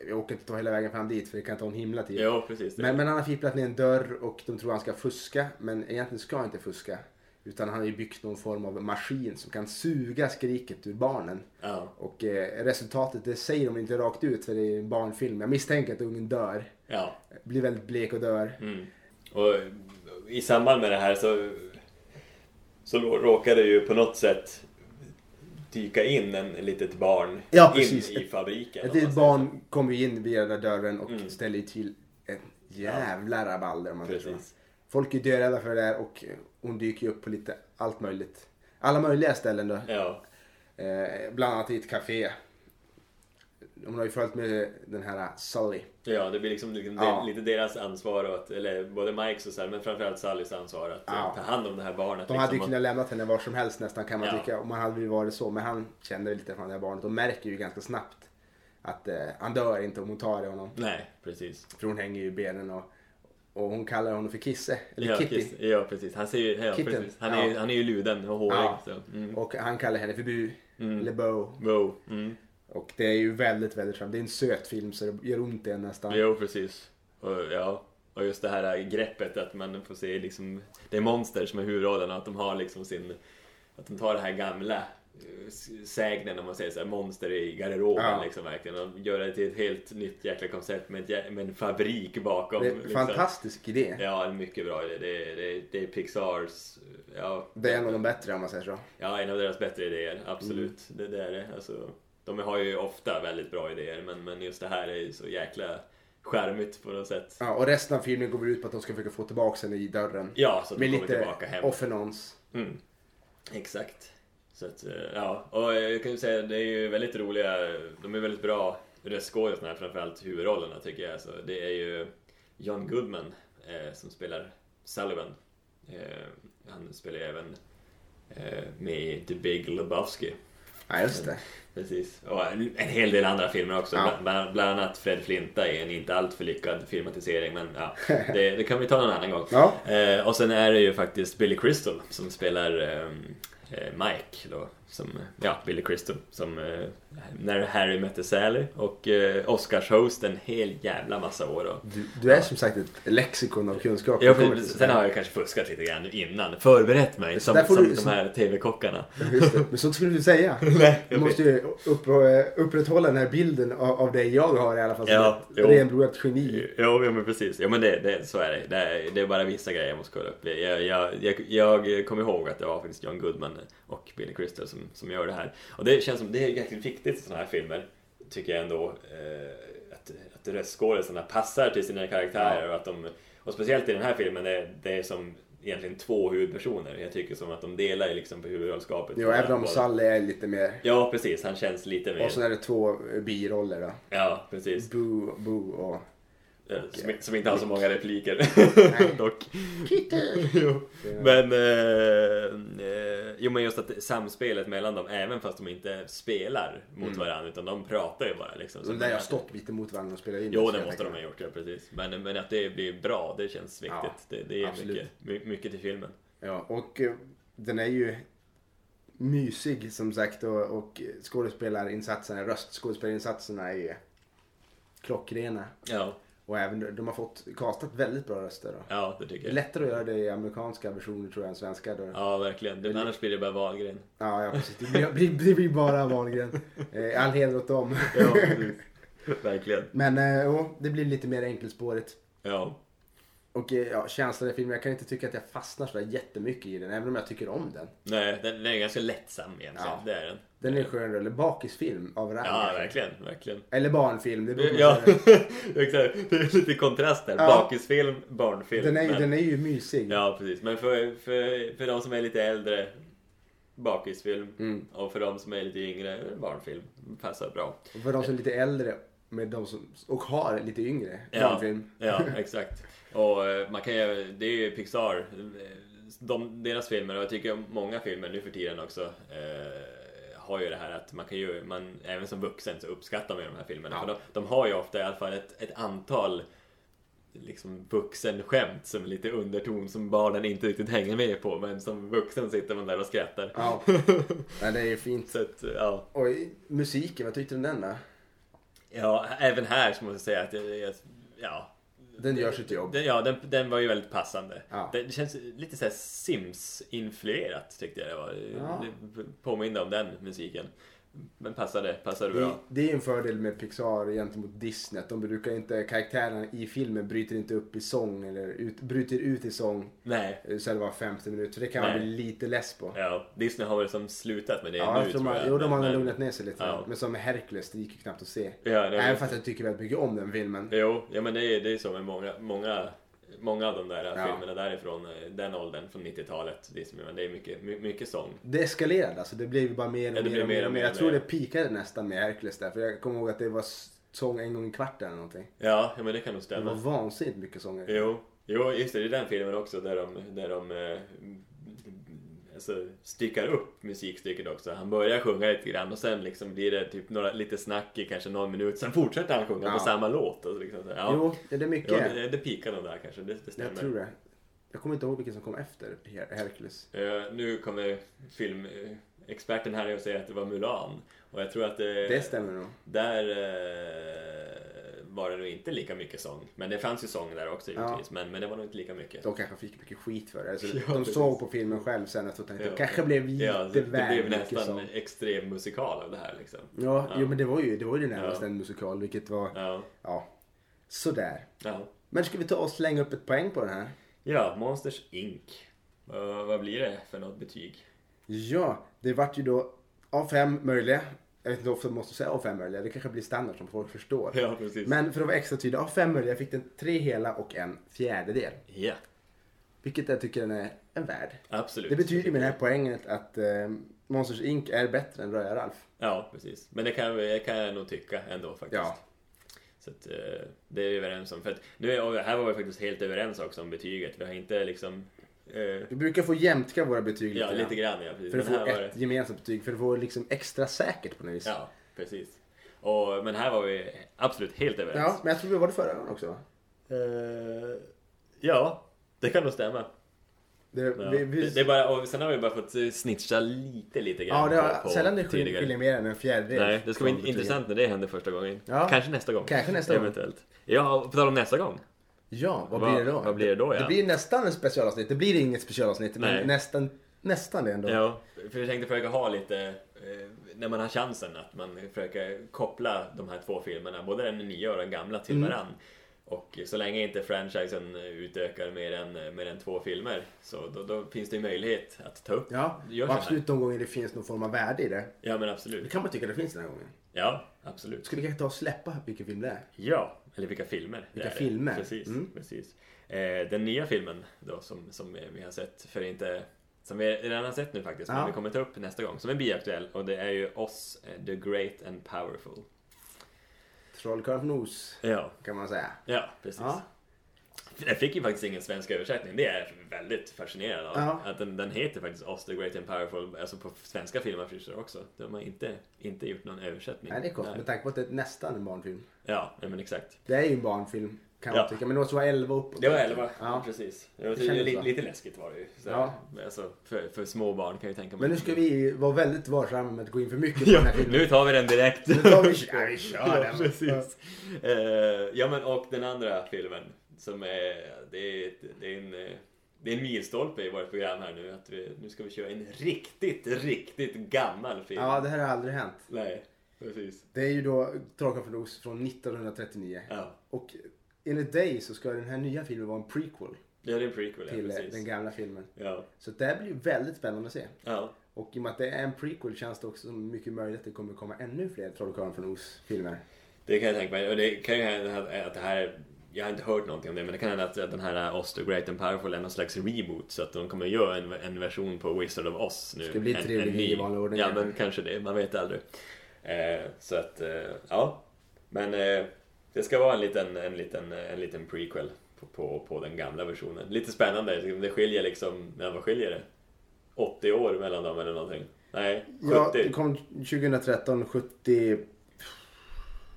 [SPEAKER 2] Jag åker inte ta hela vägen fram dit för det kan ta en himla tid.
[SPEAKER 1] Jo, precis. Det.
[SPEAKER 2] Men, men han har fipplat ner en dörr och de tror han ska fuska. Men egentligen ska han inte fuska. Utan han har ju byggt någon form av maskin som kan suga skriket ur barnen.
[SPEAKER 1] Ja,
[SPEAKER 2] Och eh, resultatet, det säger de inte rakt ut för det är en barnfilm. Jag misstänker att ungen dör.
[SPEAKER 1] ja.
[SPEAKER 2] Blir väldigt blek och dör.
[SPEAKER 1] Mm. Och i samband med det här så, så rå- råkade ju på något sätt dyka in en litet barn
[SPEAKER 2] Ja,
[SPEAKER 1] in
[SPEAKER 2] precis.
[SPEAKER 1] i fabriken. om
[SPEAKER 2] Ett
[SPEAKER 1] man
[SPEAKER 2] litet
[SPEAKER 1] säger
[SPEAKER 2] barn kommer ju in via den där dörren och
[SPEAKER 1] Mm.
[SPEAKER 2] ställer ju till en jävla rabalder om man säger så.
[SPEAKER 1] Precis.
[SPEAKER 2] Folk är dörädda för det där och hon dyker ju upp på lite allt möjligt. Alla möjliga ställen då.
[SPEAKER 1] så. Ja,
[SPEAKER 2] Eh, bland annat i ett café. Hon har ju följt med den här Sully.
[SPEAKER 1] ja, det blir liksom, liksom
[SPEAKER 2] Ja.
[SPEAKER 1] de- lite deras ansvar, och att, eller både Mikes och så här, men framförallt Sallys ansvar att eh,
[SPEAKER 2] Ja.
[SPEAKER 1] ta hand om det här barnet.
[SPEAKER 2] De hade ju
[SPEAKER 1] liksom,
[SPEAKER 2] kunnat lämna henne var som helst nästan kan man
[SPEAKER 1] Ja.
[SPEAKER 2] tycka. Om man hade ju varit så. Men han känner lite från det här barnet och märker ju ganska snabbt att eh, han dör inte om hon tar i honom.
[SPEAKER 1] och, nej, precis.
[SPEAKER 2] För hon hänger ju i benen och, och hon kallar honom för Kisse. Eller
[SPEAKER 1] ja,
[SPEAKER 2] Kitty.
[SPEAKER 1] precis. Ja, precis. Han, ser ju, ja,
[SPEAKER 2] Kitten.
[SPEAKER 1] precis. Han, är, ju-
[SPEAKER 2] Ja.
[SPEAKER 1] han är ju luden och hårig.
[SPEAKER 2] Ja.
[SPEAKER 1] Så. Mm.
[SPEAKER 2] Och han kallar henne för Bu. Eller Bo.
[SPEAKER 1] Wow. Mm.
[SPEAKER 2] Och det är ju väldigt, väldigt fram. Det är en söt film så det gör ont i en nästan.
[SPEAKER 1] Jo, precis. Och, ja. och just det här greppet att man får se liksom, det är monster som är huvudrollen och att de har liksom sin, att de tar det här gamla eh, s- sägnen om man säger så här, monster i garderoben
[SPEAKER 2] Ja.
[SPEAKER 1] liksom verkligen och gör det till ett helt nytt jäkla koncept med, ett, jä- med en fabrik bakom.
[SPEAKER 2] Det är en
[SPEAKER 1] liksom.
[SPEAKER 2] fantastisk idé.
[SPEAKER 1] Ja, en mycket bra idé. Det är, det är, det är Pixars, ja,
[SPEAKER 2] Det är en av de bättre om man säger så.
[SPEAKER 1] Ja, en av deras bättre idéer, absolut.
[SPEAKER 2] Mm.
[SPEAKER 1] Det, det är det. Alltså, de har ju ofta väldigt bra idéer, men, men just det här är ju så jäkla charmigt på något sätt.
[SPEAKER 2] Ja, och resten av filmen går väl ut på att de ska försöka få tillbaka henne i dörren.
[SPEAKER 1] Ja, så att de
[SPEAKER 2] Med
[SPEAKER 1] kommer
[SPEAKER 2] lite
[SPEAKER 1] tillbaka hem.
[SPEAKER 2] off and ons.
[SPEAKER 1] Mm. Exakt. Så att, eh, ja. Och eh, jag kan ju säga, det är ju väldigt roliga, de är väldigt bra röstskådisarna, framförallt huvudrollerna tycker jag. Så det är ju John Goodman eh, som spelar Sullivan. Eh, han spelar ju även eh, med i The Big Lebowski.
[SPEAKER 2] Ja, just det.
[SPEAKER 1] Precis. Och en en hel del andra filmer också.
[SPEAKER 2] Ja.
[SPEAKER 1] Bland, bland annat Fred Flinta i en inte alltför lyckad filmatisering. Men ja, det, det kan vi ta någon annan gång.
[SPEAKER 2] Ja.
[SPEAKER 1] Eh, och sen är det ju faktiskt Billy Crystal som spelar ehm, eh, Mike. Då, som, ja, Billy Crystal. Som eh, när Harry mötte Sally. Och eh, Oscars-host en hel jävla massa år. Då.
[SPEAKER 2] Du, du är som sagt ett lexikon av kunskap.
[SPEAKER 1] Jag,
[SPEAKER 2] Det kommer till
[SPEAKER 1] sen har jag kanske fuskat lite grann innan. Förberett mig som,
[SPEAKER 2] där får
[SPEAKER 1] som
[SPEAKER 2] du-
[SPEAKER 1] de här TV-kockarna.
[SPEAKER 2] Just det. Men så skulle du säga.
[SPEAKER 1] Nej,
[SPEAKER 2] Du måste ju upp, eh, upprätthålla den här bilden av, av dig jag har i alla fall. Som
[SPEAKER 1] Ja,
[SPEAKER 2] ett
[SPEAKER 1] jo.
[SPEAKER 2] renblodat geni.
[SPEAKER 1] Jo, ja, men precis. Ja, men det, det, så är det. Det är, det är bara vissa grejer jag måste kolla upp. Jag, jag, jag, jag kommer ihåg att det var faktiskt John Goodman och Billy Crystal som, som gör det här. Och det känns som det är jäkligt viktigt i sådana här filmer, tycker jag ändå. Eh, att att röstskådisarna passar till sina karaktärer. Och, att de, och speciellt i den här filmen, det, det är som egentligen två huvudpersoner. Jag tycker som att de delar liksom på huvudrollskapet.
[SPEAKER 2] Jo, även om Sally är lite mer...
[SPEAKER 1] Ja, precis. Han känns lite mer...
[SPEAKER 2] Och så är det två eh, biroller då.
[SPEAKER 1] Ja, precis.
[SPEAKER 2] Boo, boo och...
[SPEAKER 1] Eh, Som, som inte har så många repliker dock. jo. Men, eh, eh, jo men just att samspelet mellan dem, även fast de inte spelar mot varandra utan de pratar ju bara liksom. Så
[SPEAKER 2] De Mm. där
[SPEAKER 1] de-
[SPEAKER 2] har stått mitt emot varandra och spelat in.
[SPEAKER 1] Jo
[SPEAKER 2] så
[SPEAKER 1] det
[SPEAKER 2] jag
[SPEAKER 1] måste de
[SPEAKER 2] tänker-
[SPEAKER 1] ha gjort, ja precis. Men, men att det blir bra, det känns viktigt.
[SPEAKER 2] Ja,
[SPEAKER 1] det, det är
[SPEAKER 2] absolut.
[SPEAKER 1] mycket, my- mycket till filmen.
[SPEAKER 2] Ja, och eh, den är ju mysig som sagt och, och skådespelarinsatserna, röstskådespelarinsatserna är ju klockrena.
[SPEAKER 1] Ja,
[SPEAKER 2] Och även de har fått kastat väldigt bra röster. Då.
[SPEAKER 1] ja det
[SPEAKER 2] Det
[SPEAKER 1] tycker
[SPEAKER 2] är
[SPEAKER 1] jag.
[SPEAKER 2] lättare att göra det i amerikanska versioner tror jag än svenska. Då. Ja.
[SPEAKER 1] Ja verkligen, det, annars blir det bara Wahlgren.
[SPEAKER 2] Ja, precis. Det blir, blir- det blir bara Wahlgren. Eh, All heder åt dem.
[SPEAKER 1] Ja, precis. verkligen.
[SPEAKER 2] Men eh, jo, det blir lite mer enkelspårigt.
[SPEAKER 1] Ja.
[SPEAKER 2] Och eh, ja, känslan i filmen, jag kan inte tycka att jag fastnar så där jättemycket i den, även om jag tycker om den.
[SPEAKER 1] Nej, den, den är ganska lättsam egentligen.
[SPEAKER 2] Ja.
[SPEAKER 1] Det är den.
[SPEAKER 2] Den är en skön rulle. Bakisfilm av rang.
[SPEAKER 1] Ja, verkligen, verkligen.
[SPEAKER 2] Eller barnfilm, det beror på
[SPEAKER 1] Ja,
[SPEAKER 2] vad man
[SPEAKER 1] exakt. Det är lite kontrast där.
[SPEAKER 2] Ja.
[SPEAKER 1] Bakisfilm, barnfilm.
[SPEAKER 2] säger. den, är, ju-
[SPEAKER 1] men,
[SPEAKER 2] den är ju mysig.
[SPEAKER 1] Ja, precis. Men för, för, för de som är lite äldre, bakisfilm.
[SPEAKER 2] Mm.
[SPEAKER 1] Och för de som är lite yngre, barnfilm. Passar bra.
[SPEAKER 2] Och för de som är lite äldre med de som, och har lite yngre
[SPEAKER 1] Ja.
[SPEAKER 2] barnfilm.
[SPEAKER 1] Ja, exakt. Och eh, man kan ju, det är ju Pixar, eh, de, deras filmer och jag tycker många filmer nu för tiden också eh, har ju det här att man kan ju, man, även som vuxen så uppskattar man ju de här filmerna.
[SPEAKER 2] Ja.
[SPEAKER 1] För de, de har ju ofta i alla fall ett, ett antal liksom vuxenskämt som är lite underton som barnen inte riktigt hänger med på men som vuxen sitter man där och skrattar.
[SPEAKER 2] Ja. Nej, det är ju fint.
[SPEAKER 1] Så att, ja.
[SPEAKER 2] Och i- musiken, vad tyckte du om den då?
[SPEAKER 1] ja, även här så måste jag säga att jag, jag, ja,
[SPEAKER 2] Den gör sitt jobb.
[SPEAKER 1] Den, ja, den, den var ju väldigt passande.
[SPEAKER 2] Ja.
[SPEAKER 1] Den känns lite så här Sims-influerat tyckte jag det var.
[SPEAKER 2] Ja.
[SPEAKER 1] Det påminde om den musiken. Men passade, passade
[SPEAKER 2] Det,
[SPEAKER 1] bra.
[SPEAKER 2] det är ju en fördel med Pixar gentemot Disney. Att de brukar inte, karaktärerna i filmen bryter inte upp i sång eller ut, bryter ut i sång
[SPEAKER 1] Nej.
[SPEAKER 2] eh, så är det var 50 minuter. Så det kan man
[SPEAKER 1] Nej.
[SPEAKER 2] bli lite less på.
[SPEAKER 1] Ja, Disney har väl som slutat med det
[SPEAKER 2] Ja,
[SPEAKER 1] nu
[SPEAKER 2] jag tror man,
[SPEAKER 1] jag.
[SPEAKER 2] jo, de har nog
[SPEAKER 1] Men-
[SPEAKER 2] lugnat ner sig lite.
[SPEAKER 1] Ja.
[SPEAKER 2] Men som Hercules, det gick ju knappt att se.
[SPEAKER 1] Ja, nej,
[SPEAKER 2] Även fast jag tycker väldigt mycket om den filmen.
[SPEAKER 1] Jo, ja, men det är, det är så med många, många, många av de där
[SPEAKER 2] Ja.
[SPEAKER 1] filmerna därifrån, eh, den åldern, från 90-talet. Disney, men Det är mycket, my, mycket sång.
[SPEAKER 2] Det eskalerade alltså. Det blev ju bara mer
[SPEAKER 1] Ja,
[SPEAKER 2] och
[SPEAKER 1] det
[SPEAKER 2] mer
[SPEAKER 1] blev
[SPEAKER 2] och mer. och mer. Jag
[SPEAKER 1] mer.
[SPEAKER 2] tror det pikade nästan med Hercules där. För jag kommer ihåg att det var s- sång en gång i kvarten eller någonting.
[SPEAKER 1] Ja, ja men det kan nog
[SPEAKER 2] Det var
[SPEAKER 1] stämma.
[SPEAKER 2] vansinnigt mycket sånger.
[SPEAKER 1] Jo, jo, just det, det är den filmen också där de, där de eh, alltså, styckar upp musikstycket också. Han börjar sjunga lite grann och sen liksom blir det typ några, lite snack i kanske någon minut. Sen fortsätter han sjunga
[SPEAKER 2] Ja.
[SPEAKER 1] på samma låt. Och så liksom, så, ja.
[SPEAKER 2] Jo, det är
[SPEAKER 1] Jo,
[SPEAKER 2] mycket.
[SPEAKER 1] det, det pikar nog där kanske, det, det stämmer.
[SPEAKER 2] Jag tror det. Jag kommer inte ihåg vilken som kom efter Her- Hercules.
[SPEAKER 1] Eh, nu kommer filmexperten här och säger att det var Mulan. Och jag tror att det,
[SPEAKER 2] Det stämmer nog.
[SPEAKER 1] där eh, var det nog inte lika mycket sång. Men det fanns ju sång där också
[SPEAKER 2] Ja.
[SPEAKER 1] givetvis. Men, men det var nog inte lika mycket.
[SPEAKER 2] De kanske fick mycket skit för det. Alltså,
[SPEAKER 1] Ja,
[SPEAKER 2] de
[SPEAKER 1] precis.
[SPEAKER 2] såg på filmen själv sen och tänkte
[SPEAKER 1] Ja.
[SPEAKER 2] det kanske blev lite
[SPEAKER 1] Ja, alltså, det,
[SPEAKER 2] väl
[SPEAKER 1] det blev
[SPEAKER 2] mycket Mm.
[SPEAKER 1] nästan
[SPEAKER 2] sång.
[SPEAKER 1] extrem musikal av det här liksom.
[SPEAKER 2] Ja,
[SPEAKER 1] Ja.
[SPEAKER 2] Jo, men det var ju det, var ju det närmaste
[SPEAKER 1] Ja.
[SPEAKER 2] en musikal vilket var, ja.
[SPEAKER 1] Ja,
[SPEAKER 2] sådär.
[SPEAKER 1] ja.
[SPEAKER 2] Men ska vi ta och slänga upp ett poäng på den här?
[SPEAKER 1] ja Monsters Inc. Vad- vad blir det för något betyg?
[SPEAKER 2] Ja, det vart ju då av fem möjliga. Jag vet inte varför man måste säga av fem möjliga. Det kanske blir standard som folk förstår.
[SPEAKER 1] Ja, precis.
[SPEAKER 2] Men för att vara extra tydlig, av fem möjliga fick den tre hela och en fjärdedel.
[SPEAKER 1] Ja,
[SPEAKER 2] Vilket jag tycker den är en värd.
[SPEAKER 1] absolut.
[SPEAKER 2] Det betyder ju med det här poänget att eh, Monsters Inc är bättre än Röja Ralf.
[SPEAKER 1] Ja, precis. Men det kan, det kan jag nog tycka ändå faktiskt.
[SPEAKER 2] Ja.
[SPEAKER 1] Så att, eh, det är vi överens om. För att, nu är, och här var vi faktiskt helt överens också om betyget. Vi har inte liksom... Eh,
[SPEAKER 2] Vi brukar få jämtka våra betyg lite,
[SPEAKER 1] ja,
[SPEAKER 2] grann.
[SPEAKER 1] lite grann ja. Precis.
[SPEAKER 2] För att
[SPEAKER 1] Men
[SPEAKER 2] få
[SPEAKER 1] här var
[SPEAKER 2] ett
[SPEAKER 1] det,
[SPEAKER 2] gemensamt betyg, för det var liksom extra säkert på något vis.
[SPEAKER 1] ja, precis. Och, men här var vi absolut helt
[SPEAKER 2] Ja,
[SPEAKER 1] överens.
[SPEAKER 2] men jag tror vi var det förra gången också. va?
[SPEAKER 1] Ja, Eh, ja det kan nog stämma.
[SPEAKER 2] Det,
[SPEAKER 1] Ja.
[SPEAKER 2] vi, vi,
[SPEAKER 1] det, det är bara, och sen har vi bara fått eh, snitcha lite, lite grann
[SPEAKER 2] ja, det
[SPEAKER 1] på,
[SPEAKER 2] har
[SPEAKER 1] på
[SPEAKER 2] sällan det
[SPEAKER 1] tidigare.
[SPEAKER 2] skiljer mer än en fjärdedel.
[SPEAKER 1] Nej, det ska bli
[SPEAKER 2] från betygen.
[SPEAKER 1] intressant när det händer första gången.
[SPEAKER 2] Ja.
[SPEAKER 1] Kanske nästa gång.
[SPEAKER 2] Kanske nästa gång.
[SPEAKER 1] Eventuellt. Ja, och på tal om nästa gång.
[SPEAKER 2] Ja, vad
[SPEAKER 1] Vad-
[SPEAKER 2] blir det då?
[SPEAKER 1] vad blir det då, ja?
[SPEAKER 2] Det blir nästan ett specialavsnitt. Det blir inget specialavsnitt,
[SPEAKER 1] Nej.
[SPEAKER 2] men nästan, nästan det ändå.
[SPEAKER 1] Ja, för jag tänkte försöka ha lite, eh, när man har chansen, att man försöker koppla de här två filmerna, både den nya och den gamla, till
[SPEAKER 2] Mm.
[SPEAKER 1] varann. Och så länge inte franchisen utökar mer än, mer än två filmer, så då, då finns det ju möjlighet att ta upp.
[SPEAKER 2] Ja,
[SPEAKER 1] Gör
[SPEAKER 2] och
[SPEAKER 1] så här.
[SPEAKER 2] absolut de gånger det finns någon form av värde i det.
[SPEAKER 1] Ja, men
[SPEAKER 2] Det
[SPEAKER 1] absolut.
[SPEAKER 2] kan man tycka det finns den här gången.
[SPEAKER 1] Ja, absolut.
[SPEAKER 2] Ska vi kanske ta och släppa vilken film det är?
[SPEAKER 1] Ja, eller vilka filmer. det
[SPEAKER 2] Vilka
[SPEAKER 1] är det.
[SPEAKER 2] filmer?
[SPEAKER 1] Precis,
[SPEAKER 2] Mm.
[SPEAKER 1] precis. Eh, den nya filmen då, som, som vi har sett för inte som vi redan har sett nu faktiskt,
[SPEAKER 2] Ja.
[SPEAKER 1] men vi kommer ta upp nästa gång, som är biaktuell och det är ju Oss, eh, The Great and Powerful.
[SPEAKER 2] Trollkarlen från Oz,
[SPEAKER 1] Ja,
[SPEAKER 2] kan man säga.
[SPEAKER 1] ja precis.
[SPEAKER 2] Ja.
[SPEAKER 1] Jag fick ju faktiskt ingen svensk översättning. Det är jag väldigt fascinerad av.
[SPEAKER 2] Ja.
[SPEAKER 1] Att den, den heter faktiskt Oss the Great and Powerful, alltså på svenska filmafficher också. De har inte, inte gjort någon översättning.
[SPEAKER 2] Nej, det är kort
[SPEAKER 1] Nej.
[SPEAKER 2] med tanke på att det är nästan en barnfilm.
[SPEAKER 1] Ja, nej, men exakt.
[SPEAKER 2] Det är ju en barnfilm, kan
[SPEAKER 1] Ja.
[SPEAKER 2] man tycka. Men det måste vara 11 uppåt.
[SPEAKER 1] Det var 11,
[SPEAKER 2] Ja.
[SPEAKER 1] precis. Det var
[SPEAKER 2] Det kändes
[SPEAKER 1] li,
[SPEAKER 2] så.
[SPEAKER 1] lite läskigt var det ju. Så,
[SPEAKER 2] Ja.
[SPEAKER 1] alltså, för, för små barn kan jag ju tänka mig.
[SPEAKER 2] Men nu ska vi vara väldigt varsamma med att gå in för mycket på den
[SPEAKER 1] Ja,
[SPEAKER 2] här filmen.
[SPEAKER 1] nu tar vi den direkt.
[SPEAKER 2] Nu tar vi... Ja, vi kör
[SPEAKER 1] Ja,
[SPEAKER 2] den.
[SPEAKER 1] precis. Eh, ja, men och den andra filmen som är... Det är, det är en... eh, Det är en milstolpe i vårt program här nu att vi, nu ska vi köra en riktigt, riktigt gammal film.
[SPEAKER 2] Ja, det här har aldrig hänt.
[SPEAKER 1] Nej, precis.
[SPEAKER 2] Det är ju då Trollkarlen från Oz från 1939.
[SPEAKER 1] Ja,
[SPEAKER 2] Och enligt dig så ska den här nya filmen vara en prequel
[SPEAKER 1] det är en prequel,
[SPEAKER 2] till
[SPEAKER 1] ja,
[SPEAKER 2] eh,
[SPEAKER 1] precis.
[SPEAKER 2] den gamla filmen.
[SPEAKER 1] Ja,
[SPEAKER 2] Så det här blir ju väldigt spännande att se.
[SPEAKER 1] ja,
[SPEAKER 2] Och i och med att det är en prequel känns det också som mycket möjligt att det kommer komma ännu fler Trollkarlen från Oz-filmer.
[SPEAKER 1] det kan jag tänka mig. Och det kan ju hända att- att det här... Jag har inte hört någonting om det, men det kan hända att att den här Oz the Great and Powerful är någon slags reboot. Så att de kommer göra en, en version på Wizard of Oz nu.
[SPEAKER 2] Ska det bli
[SPEAKER 1] en,
[SPEAKER 2] trilogi
[SPEAKER 1] en ny.
[SPEAKER 2] i vanlig ordning,
[SPEAKER 1] Ja,
[SPEAKER 2] kanske?
[SPEAKER 1] men kanske det. Man vet aldrig. Eh, så att, eh, ja. Men eh, det ska vara en liten, en liten, en liten prequel på, på, på den gamla versionen. Lite spännande. Det skiljer liksom, ja, vad skiljer det? 80 år mellan dem eller någonting? Nej, 70?
[SPEAKER 2] Ja, det kom 2013, 70,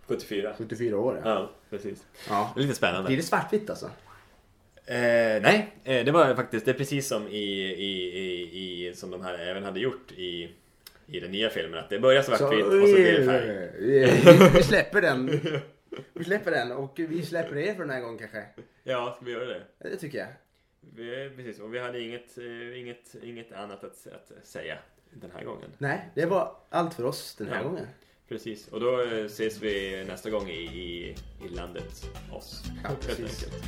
[SPEAKER 1] 74?
[SPEAKER 2] 74 år. Ja.
[SPEAKER 1] Ja, precis.
[SPEAKER 2] Ja.
[SPEAKER 1] Lite spännande.
[SPEAKER 2] Blir det svartvitt alltså?
[SPEAKER 1] Eh, nej, eh, det var faktiskt det är precis som i, i, i, i som de här även hade gjort i, i den nya filmen. Att det börjar svartvitt och så blir det färg.
[SPEAKER 2] eh, Vi släpper den. Vi släpper den och vi släpper er för den här gången kanske.
[SPEAKER 1] Ja, ska vi göra det?
[SPEAKER 2] Det tycker jag.
[SPEAKER 1] Vi, precis, och vi hade inget, eh, inget, inget annat att, att säga den här gången.
[SPEAKER 2] Nej, det var allt för oss den här
[SPEAKER 1] Ja.
[SPEAKER 2] gången.
[SPEAKER 1] Precis, och då eh, ses vi nästa gång i, i, i landet oss.
[SPEAKER 2] Ja,
[SPEAKER 1] helt
[SPEAKER 2] precis.
[SPEAKER 1] enkelt.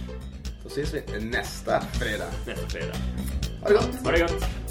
[SPEAKER 2] Då ses vi nästa fredag.
[SPEAKER 1] Nästa fredag.
[SPEAKER 2] Ha det gott!
[SPEAKER 1] Ha det gott!